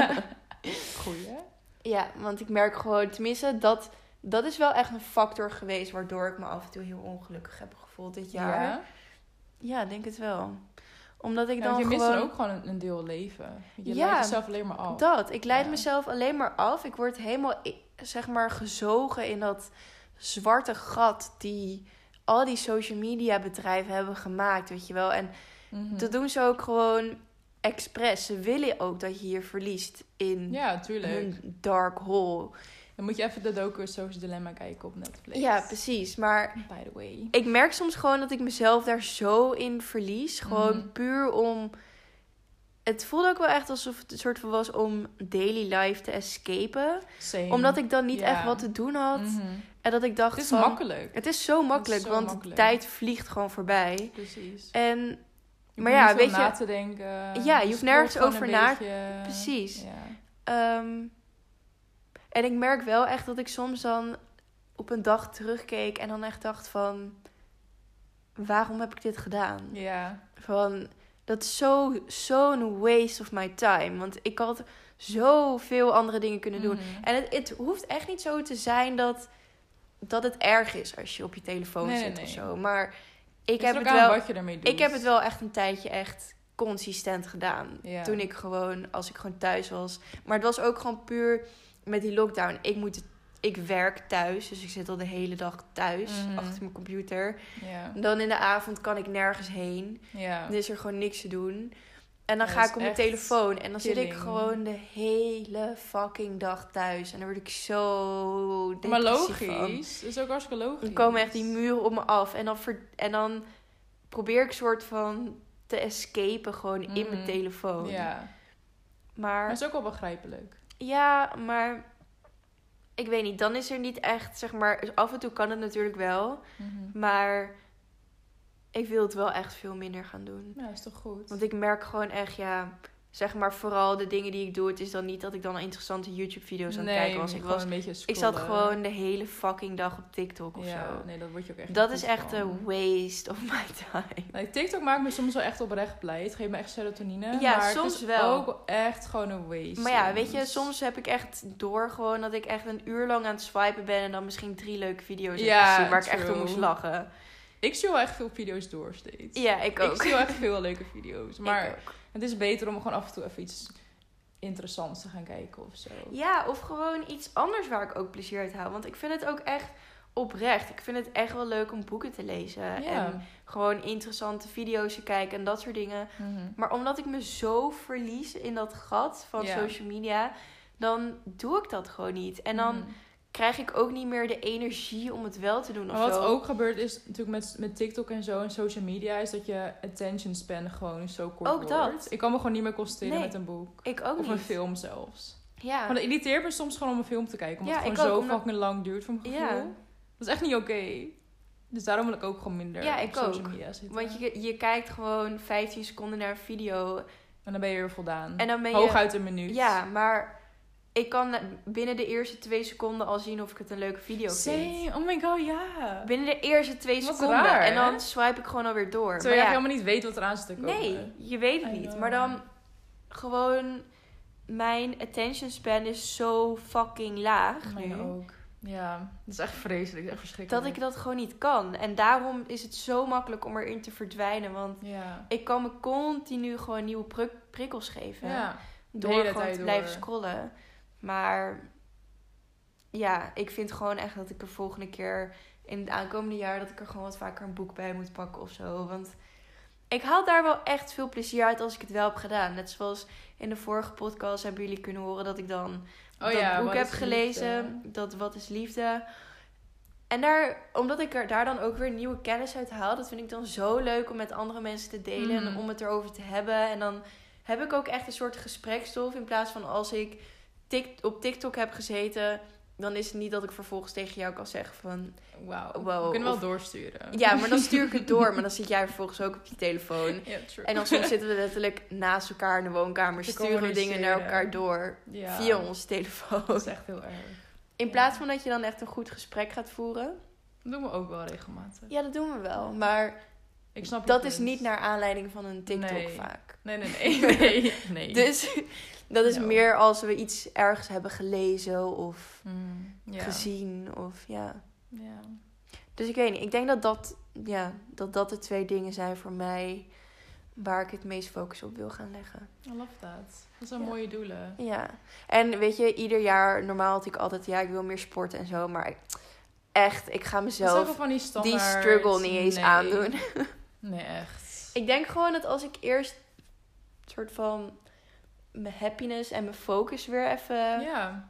Speaker 1: Goeie.
Speaker 2: ja, want ik merk gewoon, tenminste, dat, dat is wel echt een factor geweest waardoor ik me af en toe heel ongelukkig heb gevoeld dit jaar. Ja,
Speaker 1: Ja,
Speaker 2: ik denk het wel. Omdat ik
Speaker 1: Ja,
Speaker 2: dan
Speaker 1: want je mist
Speaker 2: gewoon...
Speaker 1: dan ook gewoon een, een deel leven. Je
Speaker 2: Ja.
Speaker 1: leidt jezelf alleen maar af.
Speaker 2: Dat, ik leid
Speaker 1: Oh. Ja.
Speaker 2: mezelf alleen maar af. Ik word helemaal, i- zeg maar, gezogen in dat zwarte gat die al die social media bedrijven hebben gemaakt, weet je wel. En
Speaker 1: Mhm.
Speaker 2: dat doen ze ook gewoon expres. Ze willen ook dat je hier verliest in
Speaker 1: Ja, tuurlijk.
Speaker 2: hun dark hole.
Speaker 1: Dan moet je even de docu Social Dilemma kijken op Netflix.
Speaker 2: Ja, precies. Maar
Speaker 1: By the way.
Speaker 2: ik merk soms gewoon dat ik mezelf daar zo in verlies. Gewoon
Speaker 1: Mhm.
Speaker 2: puur om. Het voelde ook wel echt alsof het een soort van was om daily life te escapen.
Speaker 1: Same.
Speaker 2: Omdat ik dan niet
Speaker 1: Ja.
Speaker 2: echt wat te doen had.
Speaker 1: Mhm.
Speaker 2: En dat ik dacht
Speaker 1: Het is
Speaker 2: van...
Speaker 1: makkelijk.
Speaker 2: Het is zo makkelijk,
Speaker 1: zo
Speaker 2: want de
Speaker 1: makkelijk.
Speaker 2: tijd vliegt gewoon voorbij.
Speaker 1: Precies.
Speaker 2: En
Speaker 1: Je
Speaker 2: maar
Speaker 1: hoeft
Speaker 2: ja,
Speaker 1: niet veel
Speaker 2: weet je-
Speaker 1: na te denken.
Speaker 2: Ja, je hoeft nergens
Speaker 1: scrolt gewoon
Speaker 2: over
Speaker 1: een
Speaker 2: na-
Speaker 1: beetje.
Speaker 2: Precies.
Speaker 1: Ja.
Speaker 2: ehm, en ik merk wel echt dat ik soms dan op een dag terugkeek en dan echt dacht van... Waarom heb ik dit gedaan?
Speaker 1: ja.
Speaker 2: Van, dat is zo- zo'n waste of my time. Want ik had zoveel andere dingen kunnen doen.
Speaker 1: Mhm.
Speaker 2: En het, het hoeft echt niet zo te zijn dat, dat het erg is als je op je telefoon
Speaker 1: Nee, nee,
Speaker 2: zit
Speaker 1: nee.
Speaker 2: of zo. Maar ik
Speaker 1: ligt
Speaker 2: heb
Speaker 1: ook
Speaker 2: het
Speaker 1: aan
Speaker 2: wel...
Speaker 1: wat je ermee doet.
Speaker 2: Ik heb het wel echt een tijdje echt consistent gedaan.
Speaker 1: Ja.
Speaker 2: Toen ik gewoon, als ik gewoon thuis was. Maar het was ook gewoon puur met die lockdown. Ik, moet, ik werk thuis, dus ik zit al de hele dag thuis
Speaker 1: Mhm.
Speaker 2: achter mijn computer.
Speaker 1: Ja.
Speaker 2: Dan in de avond kan ik nergens heen.
Speaker 1: ja.
Speaker 2: Dan is er gewoon niks te doen. En dan
Speaker 1: Ja,
Speaker 2: ga
Speaker 1: dat
Speaker 2: ik
Speaker 1: is
Speaker 2: op mijn
Speaker 1: echt
Speaker 2: telefoon. En dan zit ik
Speaker 1: killing.
Speaker 2: gewoon de hele fucking dag thuis. En dan word ik zo
Speaker 1: Maar
Speaker 2: depressief van.
Speaker 1: logisch. Dat is ook hartstikke logisch.
Speaker 2: Dan komen echt die muren op me af. En dan, ver- en dan probeer ik soort van te escapen gewoon in mijn
Speaker 1: Mhm.
Speaker 2: telefoon.
Speaker 1: Ja. Maar
Speaker 2: Maar
Speaker 1: het is ook wel begrijpelijk.
Speaker 2: ja, maar ik weet niet. Dan is er niet echt, zeg maar... dus Af en toe kan het natuurlijk wel.
Speaker 1: Mhm.
Speaker 2: Maar ik wil het wel echt veel minder gaan doen.
Speaker 1: Ja, is toch goed.
Speaker 2: Want ik merk gewoon echt, ja... Zeg maar vooral de dingen die ik doe. Het is dan niet dat ik dan interessante YouTube-video's aan het kijken was. Ik, was
Speaker 1: een beetje
Speaker 2: ik zat gewoon de hele fucking dag op TikTok of
Speaker 1: Ja,
Speaker 2: zo.
Speaker 1: nee, dat word je ook echt
Speaker 2: Dat
Speaker 1: niet
Speaker 2: is
Speaker 1: goed
Speaker 2: echt eh,
Speaker 1: van.
Speaker 2: een waste of my time.
Speaker 1: Nee, TikTok maakt me soms wel echt oprecht blij. Het geeft me echt serotonine.
Speaker 2: Ja,
Speaker 1: maar het
Speaker 2: soms
Speaker 1: is
Speaker 2: wel.
Speaker 1: ook echt gewoon een waste.
Speaker 2: Maar ja, weet je, soms heb ik echt door gewoon dat ik echt een uur lang aan het swipen ben en dan misschien drie leuke video's heb
Speaker 1: Ja,
Speaker 2: gezien waar ik echt
Speaker 1: true.
Speaker 2: om moest lachen.
Speaker 1: Ik zie wel echt veel video's door steeds.
Speaker 2: Ja, ik ook.
Speaker 1: Ik zie wel echt veel leuke video's. Maar
Speaker 2: Ik ook.
Speaker 1: het is beter om gewoon af en toe even iets interessants te gaan kijken of zo.
Speaker 2: Ja, of gewoon iets anders waar ik ook plezier uit haal. Want ik vind het ook echt oprecht. Ik vind het echt wel leuk om boeken te lezen en gewoon interessante video's te kijken en dat soort dingen.
Speaker 1: Mhm.
Speaker 2: Maar omdat ik me zo verlies in dat gat van
Speaker 1: Ja.
Speaker 2: social media, dan doe ik dat gewoon niet. En dan
Speaker 1: Mhm.
Speaker 2: krijg ik ook niet meer de energie om het wel te doen. Of
Speaker 1: Maar wat
Speaker 2: zo.
Speaker 1: ook gebeurt is natuurlijk met, met TikTok en zo en social media, is dat je attention span gewoon zo kort
Speaker 2: Ook dat.
Speaker 1: wordt. Ik kan me gewoon niet meer concentreren
Speaker 2: Nee,
Speaker 1: met een boek.
Speaker 2: Ik ook
Speaker 1: of
Speaker 2: niet.
Speaker 1: een film zelfs.
Speaker 2: Ja.
Speaker 1: Maar dat irriteert me soms gewoon om een film te kijken. Omdat
Speaker 2: Ja,
Speaker 1: het
Speaker 2: ik
Speaker 1: gewoon
Speaker 2: ook,
Speaker 1: zo
Speaker 2: omdat-
Speaker 1: fucking lang duurt voor mijn gevoel.
Speaker 2: Ja.
Speaker 1: Dat is echt niet oké. Dus daarom wil ik ook gewoon minder
Speaker 2: Ja, ik
Speaker 1: op social
Speaker 2: ook.
Speaker 1: media zitten.
Speaker 2: Want je, je kijkt gewoon 15 seconden naar een video.
Speaker 1: En dan ben je weer voldaan.
Speaker 2: En dan ben je...
Speaker 1: Hooguit een minuut.
Speaker 2: Ja, maar ik kan binnen de eerste twee seconden al zien of ik het een leuke video vind.
Speaker 1: Same. Oh my god, ja.
Speaker 2: Binnen de eerste twee
Speaker 1: Wat
Speaker 2: seconden.
Speaker 1: raar,
Speaker 2: en dan
Speaker 1: hè?
Speaker 2: swipe ik gewoon alweer door.
Speaker 1: Terwijl je
Speaker 2: Maar ja,
Speaker 1: helemaal niet weet wat eraan zit te komen.
Speaker 2: Nee, je weet het
Speaker 1: I
Speaker 2: niet.
Speaker 1: know.
Speaker 2: Maar dan gewoon... Mijn attention span is zo fucking laag nu.
Speaker 1: Mijn ook. Ja, dat is echt vreselijk. Echt verschrikkelijk.
Speaker 2: Dat ik dat gewoon niet kan. En daarom is het zo makkelijk om erin te verdwijnen. Want
Speaker 1: Ja.
Speaker 2: ik kan me continu gewoon nieuwe prik- prikkels geven.
Speaker 1: Ja.
Speaker 2: Door
Speaker 1: hele
Speaker 2: gewoon
Speaker 1: tijd
Speaker 2: te
Speaker 1: door.
Speaker 2: blijven scrollen. Maar ja, ik vind gewoon echt dat ik er volgende keer in het aankomende jaar dat ik er gewoon wat vaker een boek bij moet pakken of zo. Want ik haal daar wel echt veel plezier uit als ik het wel heb gedaan. Net zoals in de vorige podcast hebben jullie kunnen horen dat ik dan
Speaker 1: Oh
Speaker 2: dat
Speaker 1: ja,
Speaker 2: boek
Speaker 1: Wat
Speaker 2: heb
Speaker 1: is liefde?
Speaker 2: gelezen. Dat Wat is Liefde. En daar, omdat ik er daar dan ook weer nieuwe kennis uit haal, dat vind ik dan zo leuk om met andere mensen te delen en
Speaker 1: Mhm.
Speaker 2: om het erover te hebben. En dan heb ik ook echt een soort gesprekstof in plaats van als ik tik, op TikTok heb gezeten, dan is het niet dat ik vervolgens tegen jou kan zeggen van
Speaker 1: eh, Wauw.
Speaker 2: Wow,
Speaker 1: We kunnen wel
Speaker 2: of-
Speaker 1: doorsturen.
Speaker 2: ja, maar dan stuur ik het door, maar dan zit jij vervolgens ook op je telefoon.
Speaker 1: Ja, true.
Speaker 2: En dan soms zitten we letterlijk naast elkaar in de woonkamer,
Speaker 1: Te
Speaker 2: sturen we dingen naar
Speaker 1: communiceren.
Speaker 2: elkaar door
Speaker 1: Ja.
Speaker 2: via onze telefoon.
Speaker 1: Dat is echt heel erg.
Speaker 2: In
Speaker 1: Ja.
Speaker 2: plaats van dat je dan echt een goed gesprek gaat voeren.
Speaker 1: Dat doen we ook wel regelmatig.
Speaker 2: Ja, dat doen we wel. Maar
Speaker 1: Ik snap je
Speaker 2: dat is
Speaker 1: punt.
Speaker 2: niet naar aanleiding van een TikTok
Speaker 1: Nee.
Speaker 2: vaak.
Speaker 1: Nee, nee, nee. nee, nee.
Speaker 2: Dus dat is
Speaker 1: No.
Speaker 2: meer als we iets ergens hebben gelezen of
Speaker 1: Mm, ja.
Speaker 2: gezien. Of, ja.
Speaker 1: Ja.
Speaker 2: Dus ik weet niet. Ik denk dat dat, ja, dat dat de twee dingen zijn voor mij waar ik het meest focus op wil gaan leggen.
Speaker 1: I love that. Dat zijn
Speaker 2: Ja.
Speaker 1: mooie doelen.
Speaker 2: Ja. En weet je, ieder jaar, normaal had ik altijd, ja, ik wil meer sporten en zo. Maar ik- echt, ik ga
Speaker 1: Dat is ook wel
Speaker 2: mezelf
Speaker 1: van die
Speaker 2: die
Speaker 1: standaard.
Speaker 2: struggle niet eens
Speaker 1: Nee.
Speaker 2: aandoen.
Speaker 1: Nee, echt.
Speaker 2: Ik denk gewoon dat als ik eerst soort van mijn happiness en mijn focus weer even.
Speaker 1: ja.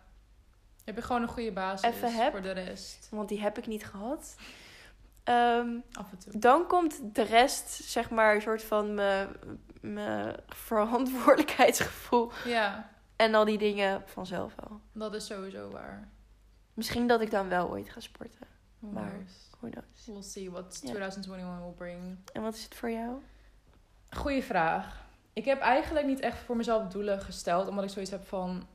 Speaker 1: Heb je gewoon een goede basis
Speaker 2: Eh, Even heb.
Speaker 1: voor de rest.
Speaker 2: Want die heb ik niet gehad. ehm,
Speaker 1: Af en toe.
Speaker 2: dan komt de rest, zeg maar, een soort van mijn, mijn verantwoordelijkheidsgevoel
Speaker 1: Ja,
Speaker 2: en al die dingen vanzelf wel.
Speaker 1: dat is sowieso waar.
Speaker 2: Misschien dat ik dan wel ooit ga sporten.
Speaker 1: Who
Speaker 2: Maar-
Speaker 1: knows?
Speaker 2: Who knows?
Speaker 1: We'll see what
Speaker 2: Ja.
Speaker 1: 2021 will bring.
Speaker 2: En wat is het voor jou?
Speaker 1: Goeie vraag. Ik heb eigenlijk niet echt voor mezelf doelen gesteld, omdat ik zoiets heb van.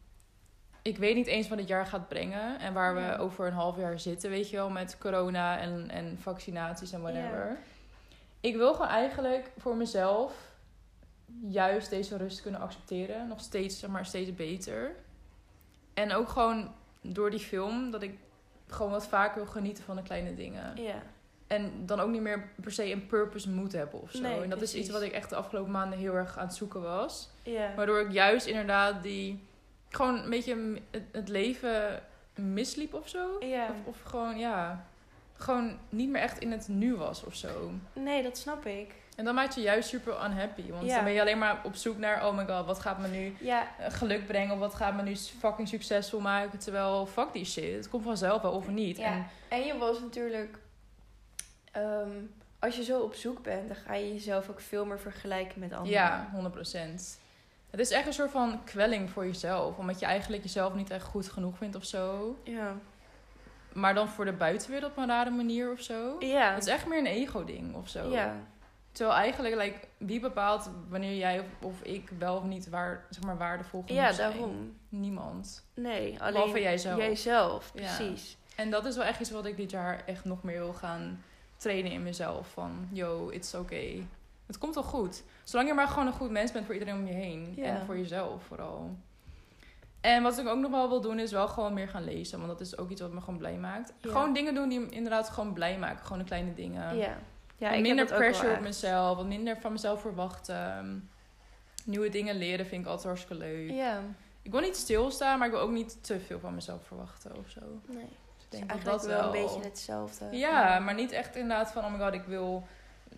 Speaker 1: Ik weet niet eens wat het jaar gaat brengen en waar
Speaker 2: Ja.
Speaker 1: we over een half jaar zitten, weet je wel, met corona en, en vaccinaties en whatever. Ik wil gewoon eigenlijk voor mezelf juist deze rust kunnen accepteren. Nog steeds, zeg maar, steeds beter. En ook gewoon door die film dat ik gewoon wat vaker wil genieten van de kleine dingen.
Speaker 2: Ja.
Speaker 1: En dan ook niet meer per se een purpose moet hebben of zo.
Speaker 2: Nee,
Speaker 1: en dat is
Speaker 2: precies.
Speaker 1: iets wat ik echt de afgelopen maanden heel erg aan het zoeken was.
Speaker 2: Ja.
Speaker 1: Waardoor ik juist inderdaad die... Gewoon een beetje m- het- het leven misliep of zo.
Speaker 2: Ja.
Speaker 1: Of, of gewoon, ja... Gewoon niet meer echt in het nu was of zo.
Speaker 2: Nee, dat snap ik.
Speaker 1: En dan maakt je juist super unhappy. Want
Speaker 2: Ja.
Speaker 1: dan ben je alleen maar op zoek naar... Oh my god, wat gaat me nu
Speaker 2: Ja.
Speaker 1: eh, geluk brengen? Of wat gaat me nu fucking succesvol maken? Terwijl, fuck die shit. Het komt vanzelf wel of niet.
Speaker 2: Ja.
Speaker 1: En,
Speaker 2: En je was natuurlijk. ehm, als je zo op zoek bent, dan ga je jezelf ook veel meer vergelijken met anderen.
Speaker 1: Ja, 100%. Het is echt een soort van kwelling voor jezelf. Omdat je eigenlijk jezelf niet echt goed genoeg vindt of zo.
Speaker 2: Ja.
Speaker 1: Maar dan voor de buitenwereld op een rare manier of zo.
Speaker 2: Ja.
Speaker 1: Het is echt meer een ego-ding of zo.
Speaker 2: ja.
Speaker 1: Terwijl eigenlijk, like, wie bepaalt wanneer jij of, of ik wel of niet waar, zeg maar, waardevol genoeg
Speaker 2: ja,
Speaker 1: zijn?
Speaker 2: daarom.
Speaker 1: Niemand.
Speaker 2: Nee, alleen
Speaker 1: Behalve jijzelf.
Speaker 2: Jijzelf,
Speaker 1: Ja.
Speaker 2: precies.
Speaker 1: En dat is wel echt iets wat ik dit jaar echt nog meer wil gaan trainen in mezelf. Van, yo, it's okay. Het komt wel goed. Zolang je maar gewoon een goed mens bent voor iedereen om je heen.
Speaker 2: Ja.
Speaker 1: En voor jezelf vooral. En wat ik ook nog wel wil doen is wel gewoon meer gaan lezen. Want dat is ook iets wat me gewoon blij maakt.
Speaker 2: Ja.
Speaker 1: Gewoon dingen doen die me inderdaad gewoon blij maken. Gewoon de kleine
Speaker 2: Ja.
Speaker 1: dingen.
Speaker 2: ja.
Speaker 1: Wat
Speaker 2: ik heb
Speaker 1: minder
Speaker 2: dat ook wel
Speaker 1: pressure op
Speaker 2: echt.
Speaker 1: mezelf. Wat minder van mezelf verwachten. Nieuwe dingen leren vind ik altijd hartstikke leuk.
Speaker 2: Ja,
Speaker 1: Ik wil niet stilstaan, maar ik wil ook niet te veel van mezelf verwachten of zo.
Speaker 2: nee.
Speaker 1: Dus
Speaker 2: Het
Speaker 1: ik
Speaker 2: is
Speaker 1: denk dat
Speaker 2: eigenlijk
Speaker 1: dat
Speaker 2: wel een beetje hetzelfde.
Speaker 1: ja,
Speaker 2: eh.
Speaker 1: maar niet echt inderdaad van, oh my god, ik wil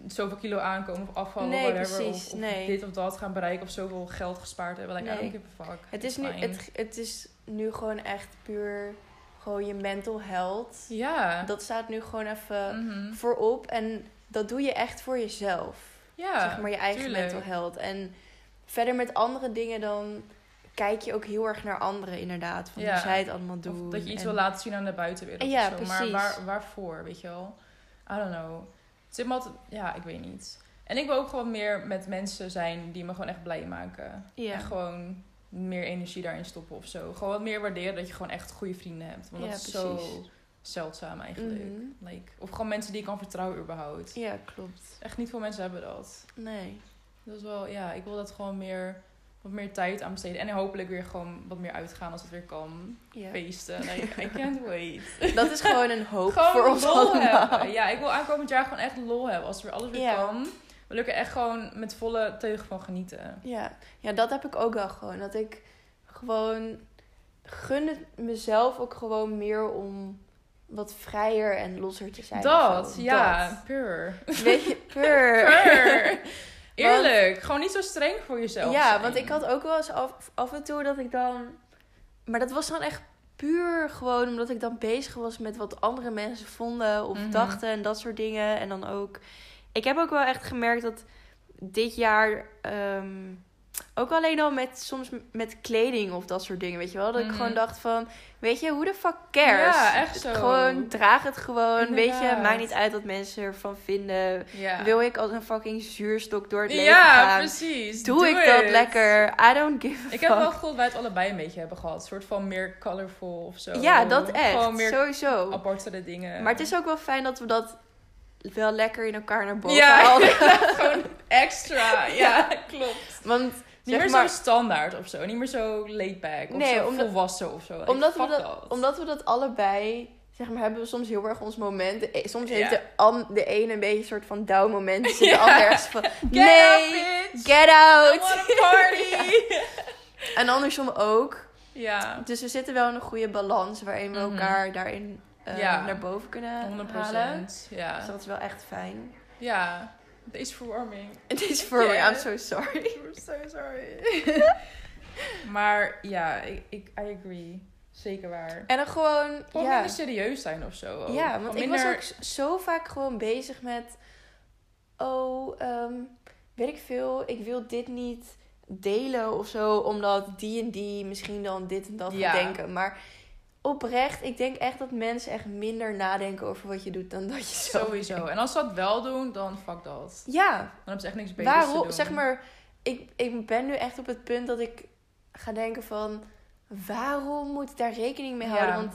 Speaker 1: zoveel kilo aankomen of afvallen
Speaker 2: Nee,
Speaker 1: of whatever.
Speaker 2: precies,
Speaker 1: of of
Speaker 2: nee.
Speaker 1: dit of dat gaan bereiken of zoveel geld gespaard hebben. Like,
Speaker 2: Nee.
Speaker 1: I don't give a fuck.
Speaker 2: Het is, nu,
Speaker 1: Fine.
Speaker 2: het, het is nu gewoon echt puur gewoon je mental health.
Speaker 1: Ja.
Speaker 2: Dat eh, staat nu gewoon even
Speaker 1: Mhm.
Speaker 2: voorop. En dat doe je echt voor jezelf.
Speaker 1: Ja.
Speaker 2: zeg maar je eigen
Speaker 1: tuurlijk.
Speaker 2: mental health. En verder met andere dingen dan kijk je ook heel erg naar anderen inderdaad. Van
Speaker 1: Ja.
Speaker 2: hoe zij het allemaal
Speaker 1: Of
Speaker 2: doen.
Speaker 1: dat je iets
Speaker 2: en-
Speaker 1: wil laten zien aan de buitenwereld.
Speaker 2: Ja,
Speaker 1: of zo. Maar
Speaker 2: precies.
Speaker 1: waar, waarvoor, weet je wel? I don't know. Het zit me altijd- ja, ik weet niet. En ik wil ook gewoon meer met mensen zijn die me gewoon echt blij maken.
Speaker 2: Ja.
Speaker 1: En gewoon meer energie daarin stoppen of zo. Gewoon wat meer waarderen dat je gewoon echt goede vrienden hebt. Want
Speaker 2: Ja,
Speaker 1: dat is zo
Speaker 2: precies.
Speaker 1: zeldzaam eigenlijk.
Speaker 2: Mhm.
Speaker 1: Like, of gewoon mensen die je kan vertrouwen überhaupt.
Speaker 2: Ja, klopt.
Speaker 1: Echt niet veel mensen hebben dat.
Speaker 2: Nee.
Speaker 1: Dat is wel, ja, ik wil dat gewoon meer wat meer tijd aan besteden. En hopelijk weer gewoon wat meer uitgaan als het weer kan.
Speaker 2: Ja.
Speaker 1: Feesten. Nee, I can't wait.
Speaker 2: Dat is gewoon een hoop
Speaker 1: Gewoon
Speaker 2: voor ons
Speaker 1: lol
Speaker 2: allemaal.
Speaker 1: hebben. Ja, ik wil aankomend jaar gewoon echt lol hebben. Als weer alles weer
Speaker 2: Ja.
Speaker 1: kan. Wil ik er echt gewoon met volle teug van genieten.
Speaker 2: Ja. ja, dat heb ik ook wel gewoon. Dat ik gewoon gun het mezelf ook gewoon meer om wat vrijer en losser te zijn. of
Speaker 1: dat,
Speaker 2: zo.
Speaker 1: ja, puur.
Speaker 2: Dat. Weet je, purr.
Speaker 1: Puur. Eerlijk. gewoon niet zo streng voor jezelf
Speaker 2: Ja,
Speaker 1: zijn.
Speaker 2: want ik had ook wel eens af, af en toe dat ik dan... Maar dat was dan echt puur gewoon omdat ik dan bezig was met wat andere mensen vonden of
Speaker 1: Mhm.
Speaker 2: dachten en dat soort dingen. En dan ook... Ik heb ook wel echt gemerkt dat dit jaar... ehm, ook alleen al met soms met kleding of dat soort dingen, weet je wel. Dat
Speaker 1: Mhm.
Speaker 2: ik gewoon dacht van, weet je, hoe de fuck cares?
Speaker 1: Ja, echt zo.
Speaker 2: Gewoon draag het gewoon, weet je.
Speaker 1: Inderdaad.
Speaker 2: Maakt niet uit wat mensen ervan vinden.
Speaker 1: Ja,
Speaker 2: Wil ik als een fucking zuurstok door het leven
Speaker 1: ja
Speaker 2: gaan?
Speaker 1: precies.
Speaker 2: Doe, ik dat
Speaker 1: it.
Speaker 2: lekker? I don't give a
Speaker 1: Ik
Speaker 2: fuck.
Speaker 1: heb wel gevoeld dat wij het allebei een beetje hebben gehad. Een soort van meer colorful of zo.
Speaker 2: ja, dat echt.
Speaker 1: Gewoon meer
Speaker 2: Sowieso.
Speaker 1: apartere dingen.
Speaker 2: Maar het is ook wel fijn dat we dat wel lekker in elkaar naar boven
Speaker 1: Ja,
Speaker 2: halen.
Speaker 1: gewoon extra. Ja, klopt.
Speaker 2: Want
Speaker 1: Niet
Speaker 2: zeg
Speaker 1: meer
Speaker 2: maar,
Speaker 1: zo standaard of zo. Niet meer zo laid back of
Speaker 2: Nee,
Speaker 1: zo
Speaker 2: omdat-
Speaker 1: volwassen of zo. Ik
Speaker 2: omdat, we
Speaker 1: fuck
Speaker 2: dat, omdat we dat allebei... Zeg maar, hebben we soms heel erg ons moment. De- e, Soms heeft
Speaker 1: Ja.
Speaker 2: de, an- de ene een beetje een soort van down moment. Dus
Speaker 1: Ja.
Speaker 2: de ander ergens van...
Speaker 1: Get
Speaker 2: nee,
Speaker 1: up, bitch.
Speaker 2: get
Speaker 1: I want
Speaker 2: out!
Speaker 1: a party.
Speaker 2: En andersom ook.
Speaker 1: ja.
Speaker 2: Dus we zitten wel in een goede balans... waarin we
Speaker 1: Mhm.
Speaker 2: elkaar daarin eh,
Speaker 1: Ja.
Speaker 2: naar boven kunnen
Speaker 1: 100
Speaker 2: Eh, halen. Dus
Speaker 1: Ja.
Speaker 2: dat is wel echt fijn.
Speaker 1: Ja. Deze verwarming.
Speaker 2: Het is voor me,
Speaker 1: Ja.
Speaker 2: I'm so sorry.
Speaker 1: I'm so sorry. maar ja, ik, ik, I agree. Zeker waar.
Speaker 2: En dan gewoon,
Speaker 1: Gewoon
Speaker 2: ja.
Speaker 1: minder serieus zijn of zo. ook.
Speaker 2: Ja, want
Speaker 1: Gewoon
Speaker 2: ik was
Speaker 1: minder-
Speaker 2: ook z- zo vaak gewoon bezig met, oh, ehm, weet ik veel, ik wil dit niet delen of zo, omdat die en die misschien dan dit en dat
Speaker 1: Ja.
Speaker 2: gaat denken. Maar oprecht, ik denk echt dat mensen echt minder nadenken over wat je doet dan dat je zo...
Speaker 1: Sowieso. En als ze dat wel doen, dan fuck dat.
Speaker 2: Ja,
Speaker 1: Dan hebben ze echt niks beters te
Speaker 2: Waarom,
Speaker 1: doen.
Speaker 2: zeg maar, ik, ik ben nu echt op het punt dat ik ga denken van... Waarom moet ik daar rekening mee
Speaker 1: Ja.
Speaker 2: houden? Want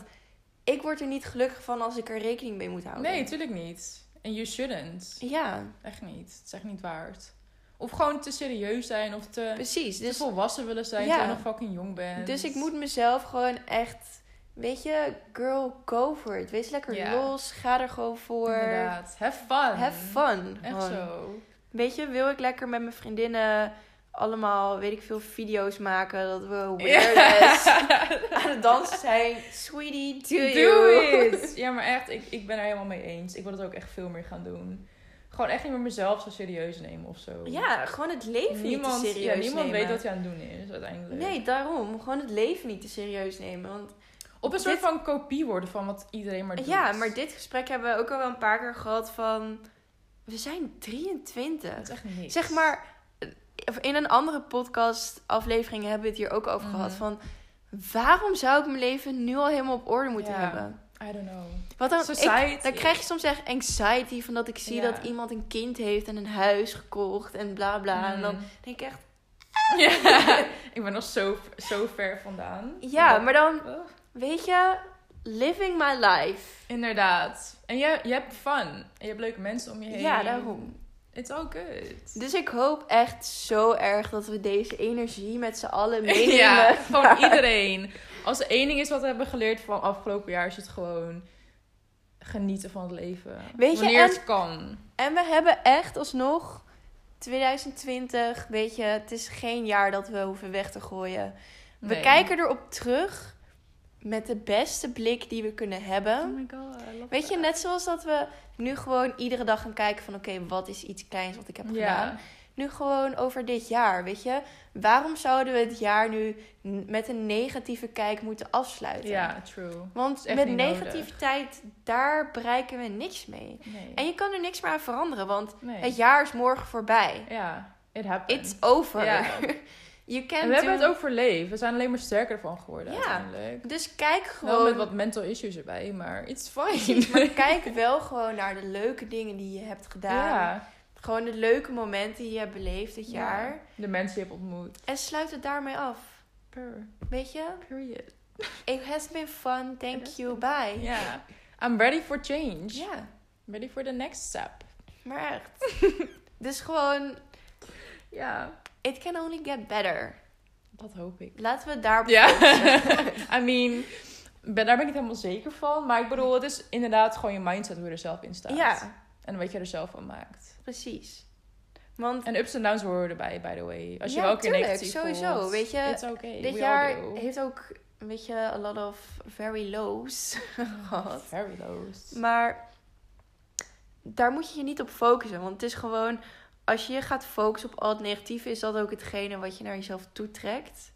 Speaker 2: ik word er niet gelukkig van als ik er rekening mee moet houden.
Speaker 1: Nee, tuurlijk niet. En you shouldn't.
Speaker 2: Ja,
Speaker 1: Echt niet. Het is echt niet waard. Of gewoon te serieus zijn of te,
Speaker 2: precies.
Speaker 1: te
Speaker 2: Dus,
Speaker 1: volwassen willen zijn
Speaker 2: Ja.
Speaker 1: terwijl je nog fucking jong bent.
Speaker 2: dus ik moet mezelf gewoon echt... Weet je, girl, go for it. Wees lekker
Speaker 1: Ja.
Speaker 2: los. Ga er gewoon voor.
Speaker 1: Inderdaad. Have fun.
Speaker 2: Have fun.
Speaker 1: Echt
Speaker 2: gewoon.
Speaker 1: zo.
Speaker 2: Weet je, wil ik lekker met mijn vriendinnen allemaal, weet ik veel, video's maken. Dat we weird as aan het dansen zijn. Sweetie, do,
Speaker 1: Do,
Speaker 2: you.
Speaker 1: it. Ja, maar echt, ik, ik ben er helemaal mee eens. Ik wil het ook echt veel meer gaan doen. Gewoon echt niet meer mezelf zo serieus nemen of zo.
Speaker 2: Ja, gewoon het leven
Speaker 1: niemand,
Speaker 2: niet te serieus
Speaker 1: ja, niemand
Speaker 2: nemen.
Speaker 1: weet wat hij aan het doen is uiteindelijk.
Speaker 2: Nee, daarom. Gewoon het leven niet te serieus nemen. Want,
Speaker 1: Op een soort
Speaker 2: Dit-
Speaker 1: van kopie worden van wat iedereen maar doet.
Speaker 2: ja, maar dit gesprek hebben we ook al wel een paar keer gehad van... We zijn 23.
Speaker 1: Dat is echt niks.
Speaker 2: Zeg maar, eh, in een andere podcast aflevering hebben we het hier ook over
Speaker 1: Mhm.
Speaker 2: gehad. Van, waarom zou ik mijn leven nu al helemaal op orde moeten
Speaker 1: Ja.
Speaker 2: hebben?
Speaker 1: I don't know.
Speaker 2: Wat dan, ik-
Speaker 1: Society.
Speaker 2: Dan krijg je soms echt anxiety van dat ik zie
Speaker 1: Ja.
Speaker 2: dat iemand een kind heeft en een huis gekocht en bla bla. En dan
Speaker 1: Mm.
Speaker 2: denk ik echt,
Speaker 1: Ja, ik ben nog zo, zo ver vandaan.
Speaker 2: ja,
Speaker 1: Omdat- Oh,
Speaker 2: maar dan
Speaker 1: Ugh.
Speaker 2: weet je, living my life.
Speaker 1: Inderdaad. En je, je hebt fun. En je hebt leuke mensen om je heen.
Speaker 2: Ja, daarom.
Speaker 1: It's all good.
Speaker 2: Dus ik hoop echt zo erg dat we deze energie met z'n allen meenemen.
Speaker 1: ja, gewoon
Speaker 2: Maar-
Speaker 1: iedereen. Als er één ding is wat we hebben geleerd van afgelopen jaar, is het gewoon genieten van het leven.
Speaker 2: Weet je,
Speaker 1: Wanneer
Speaker 2: en-
Speaker 1: het kan.
Speaker 2: En we hebben echt alsnog 2020, weet je, het is geen jaar dat we hoeven weg te gooien. We
Speaker 1: Nee.
Speaker 2: kijken erop terug met de beste blik die we kunnen hebben.
Speaker 1: Oh my god, I love
Speaker 2: Weet je,
Speaker 1: that.
Speaker 2: net zoals dat we nu gewoon iedere dag gaan kijken van... oké, wat is iets kleins wat ik heb gedaan?
Speaker 1: Ja,
Speaker 2: Nu gewoon over dit jaar, weet je? Waarom zouden we het jaar nu n- met een negatieve kijk moeten afsluiten?
Speaker 1: ja true.
Speaker 2: Want
Speaker 1: echt
Speaker 2: met
Speaker 1: niet nodig.
Speaker 2: negativiteit, daar bereiken we niks mee.
Speaker 1: Nee.
Speaker 2: En je kan er niks meer aan veranderen, want
Speaker 1: nee.
Speaker 2: het jaar is morgen voorbij.
Speaker 1: Ja, it happens.
Speaker 2: It's over.
Speaker 1: Ja.
Speaker 2: you
Speaker 1: En
Speaker 2: can
Speaker 1: we hebben
Speaker 2: do-
Speaker 1: het overleefd. We zijn alleen maar sterker van geworden
Speaker 2: Ja.
Speaker 1: uiteindelijk.
Speaker 2: Dus kijk
Speaker 1: Wel met
Speaker 2: gewoon...
Speaker 1: wat mental issues erbij, maar it's fine.
Speaker 2: Precies, maar kijk wel gewoon naar de leuke dingen die je hebt gedaan.
Speaker 1: ja,
Speaker 2: Gewoon de leuke momenten die je hebt beleefd dit
Speaker 1: Ja.
Speaker 2: jaar.
Speaker 1: de mensen die je hebt ontmoet.
Speaker 2: En sluit het daarmee af.
Speaker 1: Per-
Speaker 2: Weet je?
Speaker 1: Period.
Speaker 2: It has been fun. Thank
Speaker 1: has
Speaker 2: you. Bye. Ja.
Speaker 1: Ja. I'm ready for change. Ready for the next step.
Speaker 2: maar echt. dus gewoon,
Speaker 1: Ja.
Speaker 2: it can only get better.
Speaker 1: Dat hoop ik.
Speaker 2: Laten we het daarop
Speaker 1: Ja.
Speaker 2: focussen.
Speaker 1: I mean, ben, daar ben ik niet helemaal zeker van. Maar ik bedoel, het is inderdaad gewoon je mindset hoe je er zelf in staat.
Speaker 2: ja,
Speaker 1: En wat je er zelf van maakt.
Speaker 2: precies. Want
Speaker 1: En ups en downs horen erbij, by the way. Als je
Speaker 2: Ja,
Speaker 1: wel een keer
Speaker 2: tuurlijk,
Speaker 1: negatief
Speaker 2: sowieso,
Speaker 1: voelt,
Speaker 2: weet je,
Speaker 1: it's okay.
Speaker 2: dit
Speaker 1: We
Speaker 2: jaar
Speaker 1: all do.
Speaker 2: heeft ook, weet je, a lot of very lows gehad.
Speaker 1: Very lows.
Speaker 2: Maar daar moet je je niet op focussen. Want het is gewoon, als je je gaat focussen op al het negatieve, is dat ook hetgene wat je naar jezelf toetrekt.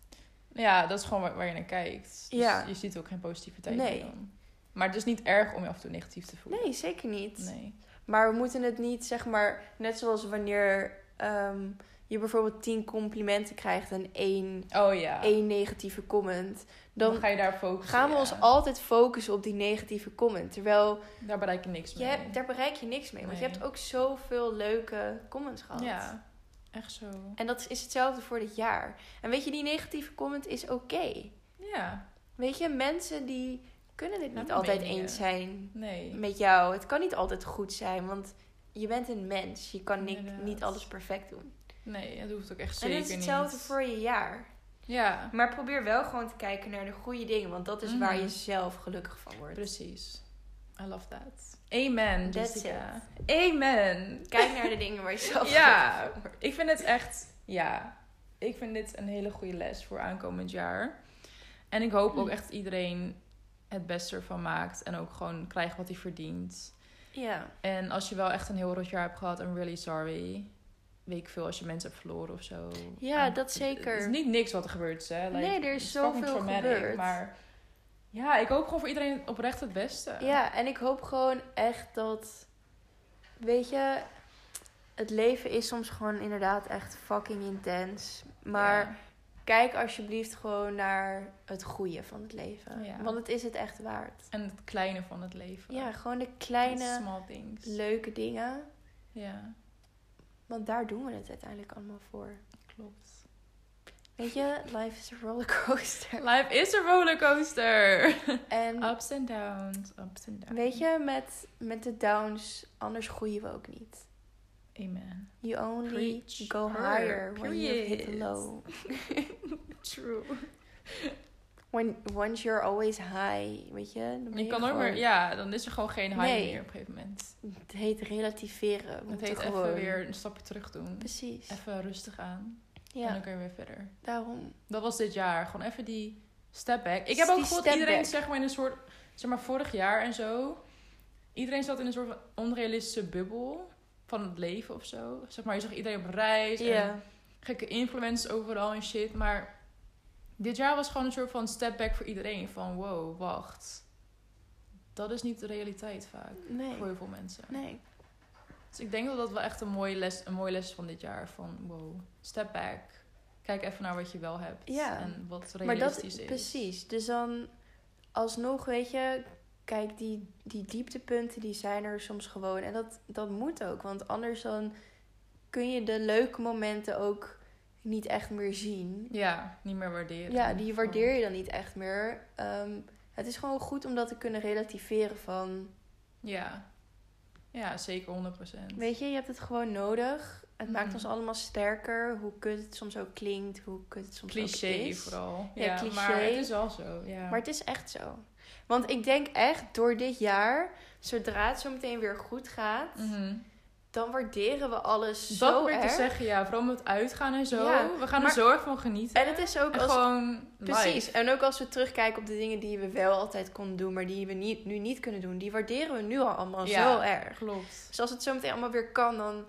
Speaker 1: Ja, dat is gewoon waar, waar je naar kijkt. Dus
Speaker 2: Ja.
Speaker 1: Je ziet ook geen positiviteit
Speaker 2: Nee.
Speaker 1: meer dan. Maar het is niet erg om je af en toe negatief te voelen.
Speaker 2: Nee, zeker niet.
Speaker 1: Nee.
Speaker 2: Maar we moeten het niet, zeg maar, net zoals wanneer ehm, je bijvoorbeeld tien complimenten krijgt en één,
Speaker 1: Oh ja.
Speaker 2: één negatieve comment. Dan,
Speaker 1: Dan ga je daar focussen.
Speaker 2: gaan we
Speaker 1: ja.
Speaker 2: ons altijd focussen op die negatieve comment. Terwijl,
Speaker 1: Daar bereik je niks
Speaker 2: je,
Speaker 1: mee.
Speaker 2: hebt- daar bereik je niks mee. Want je
Speaker 1: Nee.
Speaker 2: hebt ook zoveel leuke comments gehad.
Speaker 1: Ja, echt zo.
Speaker 2: En dat is hetzelfde voor dit jaar. En weet je, die negatieve comment is oké.
Speaker 1: Ja,
Speaker 2: Weet je, mensen die kunnen dit niet
Speaker 1: Hebben
Speaker 2: altijd
Speaker 1: meningen.
Speaker 2: eens zijn
Speaker 1: nee.
Speaker 2: met jou. Het kan niet altijd goed zijn, want je bent een mens. Je kan niet,
Speaker 1: Inderdaad.
Speaker 2: niet alles perfect doen.
Speaker 1: Nee, dat hoeft ook echt
Speaker 2: en
Speaker 1: zeker
Speaker 2: het
Speaker 1: niet.
Speaker 2: is hetzelfde voor je jaar.
Speaker 1: Ja,
Speaker 2: Maar probeer wel gewoon te kijken naar de goede dingen, want dat is
Speaker 1: Mhm.
Speaker 2: waar je zelf gelukkig van wordt.
Speaker 1: precies. I love that. Amen,
Speaker 2: That's
Speaker 1: Jessica. Amen.
Speaker 2: Kijk naar de dingen waar je zelf
Speaker 1: Ja,
Speaker 2: gelukkig van wordt.
Speaker 1: ik vind het echt... Ja, ik vind dit een hele goede les voor aankomend jaar. En ik hoop
Speaker 2: Mm.
Speaker 1: ook echt dat iedereen het beste ervan maakt. En ook gewoon krijgt wat hij verdient.
Speaker 2: Ja.
Speaker 1: En als je wel echt een heel rot jaar hebt gehad, I'm really sorry. Weet ik veel als je mensen hebt verloren of zo.
Speaker 2: Ja,
Speaker 1: En
Speaker 2: dat zeker.
Speaker 1: Het is niet niks wat er gebeurd is, hè? Like,
Speaker 2: Nee, er is
Speaker 1: it's fucking
Speaker 2: zoveel gebeurd.
Speaker 1: Maar ja, ik hoop gewoon voor iedereen oprecht het beste.
Speaker 2: Ja, en ik hoop gewoon echt dat. Weet je, het leven is soms gewoon inderdaad echt fucking intens. Maar kijk alsjeblieft gewoon naar het goede van het leven.
Speaker 1: Ja.
Speaker 2: Want het is het echt waard.
Speaker 1: En het kleine van het leven.
Speaker 2: Ja, gewoon de
Speaker 1: The
Speaker 2: kleine,
Speaker 1: Small things.
Speaker 2: leuke dingen.
Speaker 1: Ja,
Speaker 2: Want daar doen we het uiteindelijk allemaal voor.
Speaker 1: klopt.
Speaker 2: Weet je, life is a rollercoaster.
Speaker 1: Life is een rollercoaster.
Speaker 2: En
Speaker 1: ups en downs, ups en downs.
Speaker 2: weet je, met, met de downs, anders groeien we ook niet.
Speaker 1: Amen.
Speaker 2: You only
Speaker 1: Preach.
Speaker 2: go
Speaker 1: Her.
Speaker 2: higher when you hit the
Speaker 1: Period.
Speaker 2: low.
Speaker 1: True.
Speaker 2: When, once you're always high, weet je? dan ben
Speaker 1: Je kan nooit
Speaker 2: gewoon-
Speaker 1: meer, ja, dan is er gewoon geen high
Speaker 2: Nee.
Speaker 1: meer op een gegeven moment.
Speaker 2: Het heet relativeren. We
Speaker 1: Het
Speaker 2: moeten
Speaker 1: heet
Speaker 2: gewoon...
Speaker 1: even weer een stapje terug doen.
Speaker 2: Precies.
Speaker 1: Even rustig aan. En
Speaker 2: Ja,
Speaker 1: dan kun je weer verder.
Speaker 2: daarom.
Speaker 1: Dat was dit jaar. Gewoon even die step back. Ik
Speaker 2: Dus
Speaker 1: heb ook
Speaker 2: die
Speaker 1: gevoeld
Speaker 2: step
Speaker 1: iedereen
Speaker 2: back.
Speaker 1: zeg maar in een soort... Zeg maar vorig jaar en zo. Iedereen zat in een soort van onrealistische bubbel. Van het leven of zo. Zeg maar je zag iedereen op reis. En
Speaker 2: Ja,
Speaker 1: gekke influencers overal en shit. Maar dit jaar was gewoon een soort van step back voor iedereen. Van wow, wacht. Dat is niet de realiteit vaak.
Speaker 2: nee.
Speaker 1: Voor heel veel mensen.
Speaker 2: Nee.
Speaker 1: Dus ik denk dat dat wel echt een mooie les, een mooie les is van dit jaar. Van wow, step back. Kijk even naar wat je wel hebt.
Speaker 2: Ja.
Speaker 1: En wat
Speaker 2: Maar
Speaker 1: realistisch
Speaker 2: dat,
Speaker 1: is.
Speaker 2: precies. Dus dan, alsnog, weet je, kijk, die, die dieptepunten, die zijn er soms gewoon. En dat, dat moet ook, want anders dan kun je de leuke momenten ook niet echt meer zien.
Speaker 1: Ja, niet meer waarderen.
Speaker 2: Ja, die waardeer je dan niet echt meer. Ehm, het is gewoon goed om dat te kunnen relativeren van...
Speaker 1: Ja. Ja, zeker 100%.
Speaker 2: Weet je, je hebt het gewoon nodig. Het
Speaker 1: Mhm.
Speaker 2: maakt ons allemaal sterker. Hoe kut het soms ook klinkt, hoe kut het soms ook
Speaker 1: cliché
Speaker 2: is.
Speaker 1: vooral.
Speaker 2: Ja,
Speaker 1: Ja,
Speaker 2: cliché.
Speaker 1: Maar het is wel zo. Ja.
Speaker 2: Maar het is echt zo. Want ik denk echt, door dit jaar, zodra het zo meteen weer goed gaat,
Speaker 1: Mhm.
Speaker 2: dan waarderen we alles
Speaker 1: dat
Speaker 2: zo
Speaker 1: probeer ik
Speaker 2: erg.
Speaker 1: te zeggen, ja. Vooral met uitgaan en zo.
Speaker 2: Ja,
Speaker 1: we gaan
Speaker 2: maar-
Speaker 1: er zo erg van genieten.
Speaker 2: En het is ook
Speaker 1: En
Speaker 2: als...
Speaker 1: gewoon
Speaker 2: Precies.
Speaker 1: live.
Speaker 2: En ook als we terugkijken op de dingen die we wel altijd konden doen, maar die we niet, nu niet kunnen doen, die waarderen we nu al allemaal
Speaker 1: Ja.
Speaker 2: zo erg.
Speaker 1: Klopt.
Speaker 2: Dus als het zo meteen allemaal weer kan, dan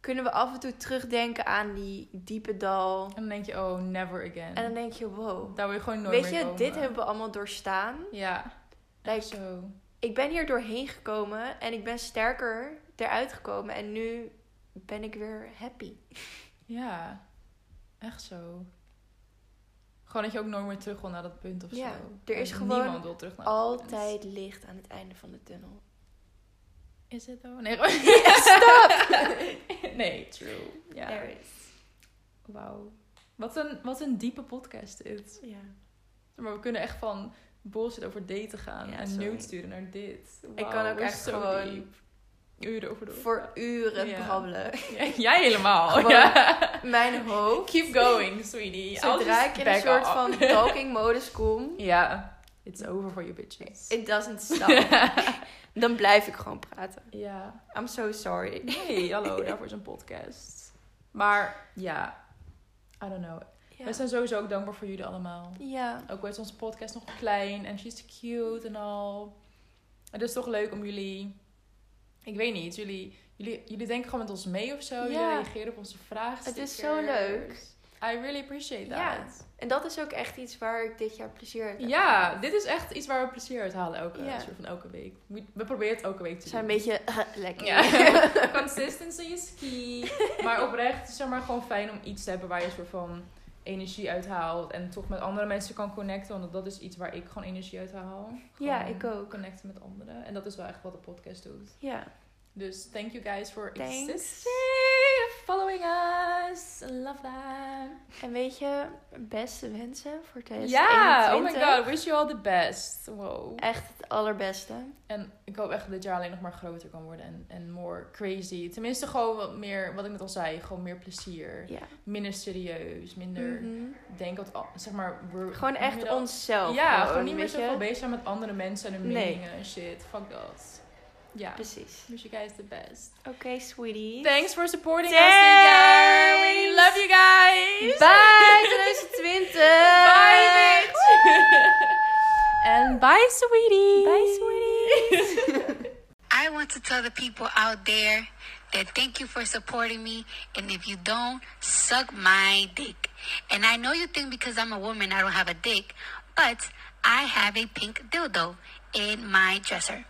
Speaker 2: kunnen we af en toe terugdenken aan die diepe dal.
Speaker 1: En dan denk je, oh, never again.
Speaker 2: En dan denk je, wow.
Speaker 1: Daar wil je gewoon nooit
Speaker 2: Weet
Speaker 1: meer
Speaker 2: je,
Speaker 1: komen.
Speaker 2: dit hebben we allemaal doorstaan.
Speaker 1: Ja, echt
Speaker 2: Like,
Speaker 1: zo.
Speaker 2: ik ben hier doorheen gekomen en ik ben sterker eruit gekomen. En nu ben ik weer happy.
Speaker 1: Ja, echt zo. Gewoon dat je ook nooit meer terug wil naar dat punt of
Speaker 2: Ja,
Speaker 1: zo.
Speaker 2: er is
Speaker 1: Want
Speaker 2: gewoon
Speaker 1: Niemand wil terug naar dat punt.
Speaker 2: Altijd licht aan het einde van de tunnel.
Speaker 1: Is het dan? Nee, gewoon-
Speaker 2: Stop!
Speaker 1: nee, true. Ja.
Speaker 2: There is.
Speaker 1: Wauw. Wat een, wat een diepe podcast dit.
Speaker 2: Ja.
Speaker 1: Maar we kunnen echt van bullshit over daten gaan
Speaker 2: Ja,
Speaker 1: en
Speaker 2: sorry.
Speaker 1: nude sturen naar dit.
Speaker 2: Ik
Speaker 1: Wauw,
Speaker 2: kan ook
Speaker 1: we're
Speaker 2: echt
Speaker 1: so
Speaker 2: gewoon
Speaker 1: deep. Uren over door.
Speaker 2: voor uren
Speaker 1: Ja.
Speaker 2: brabbelen.
Speaker 1: Jij helemaal.
Speaker 2: Gewoon.
Speaker 1: Ja.
Speaker 2: Mijn hoofd.
Speaker 1: Keep going, sweetie. I'll
Speaker 2: Zodra
Speaker 1: just
Speaker 2: ik in
Speaker 1: back
Speaker 2: een soort
Speaker 1: off.
Speaker 2: van talking modus kom,
Speaker 1: Ja. It's over for you bitches.
Speaker 2: it doesn't stop. Dan blijf ik gewoon praten.
Speaker 1: ja.
Speaker 2: I'm so sorry.
Speaker 1: Hey, hallo, daarvoor is een podcast. Maar ja, I don't know. We zijn sowieso ook dankbaar voor jullie allemaal.
Speaker 2: Ja.
Speaker 1: Ook al is onze podcast nog klein en she's cute en al. Het is toch leuk om jullie... Ik weet niet, jullie, jullie, jullie denken gewoon met ons mee of zo. Jullie
Speaker 2: Ja.
Speaker 1: reageren op onze vragen.
Speaker 2: Het is zo leuk.
Speaker 1: I really appreciate that.
Speaker 2: Ja. En dat is ook echt iets waar ik dit jaar plezier uit heb.
Speaker 1: Ja, dit is echt iets waar we plezier uit halen elke,
Speaker 2: Ja.
Speaker 1: soort van elke week. We, we proberen het elke week te
Speaker 2: We zijn een
Speaker 1: doen.
Speaker 2: beetje lekker.
Speaker 1: Ja. Consistency is key. Maar oprecht is zeg maar gewoon fijn om iets te hebben waar je een soort van energie uit haalt. En toch met andere mensen kan connecten. Want dat is iets waar ik gewoon energie uit haal.
Speaker 2: Ja,
Speaker 1: Gewoon
Speaker 2: ik ook.
Speaker 1: Connecten met anderen. En dat is wel echt wat de podcast doet.
Speaker 2: Ja.
Speaker 1: Dus thank you guys for
Speaker 2: Thanks.
Speaker 1: existing. Following us. Love that.
Speaker 2: En weet je, beste wensen voor
Speaker 1: Ja,
Speaker 2: 2021.
Speaker 1: oh my god. Wish you all the best. Wow.
Speaker 2: Echt het allerbeste.
Speaker 1: En ik hoop echt dat dit jaar alleen nog maar groter kan worden en, en more crazy. Tenminste, gewoon wat meer, wat ik net al zei, gewoon meer plezier.
Speaker 2: Ja.
Speaker 1: Minder serieus, minder
Speaker 2: Mhm.
Speaker 1: denk dat, al- zeg maar, we're-
Speaker 2: Gewoon echt
Speaker 1: middel-
Speaker 2: onszelf.
Speaker 1: Ja, gewoon niet meer
Speaker 2: weet
Speaker 1: zo
Speaker 2: je?
Speaker 1: veel bezig zijn met andere mensen en hun
Speaker 2: Nee.
Speaker 1: meningen en shit. Fuck dat. Ja.
Speaker 2: Precies.
Speaker 1: Wish you guys the best.
Speaker 2: Oké, sweetie.
Speaker 1: Thanks for supporting us dit
Speaker 2: Thanks.
Speaker 1: jaar. We love you guys.
Speaker 2: Bye 2020.
Speaker 1: Bye, bitch. En bye, sweetie.
Speaker 2: Bye, sweeties.
Speaker 3: I want to tell the people out there that thank you for supporting me. And if you don't, suck my dick. And I know you think because I'm a woman, I don't have a dick, but I have a pink dildo in my dresser.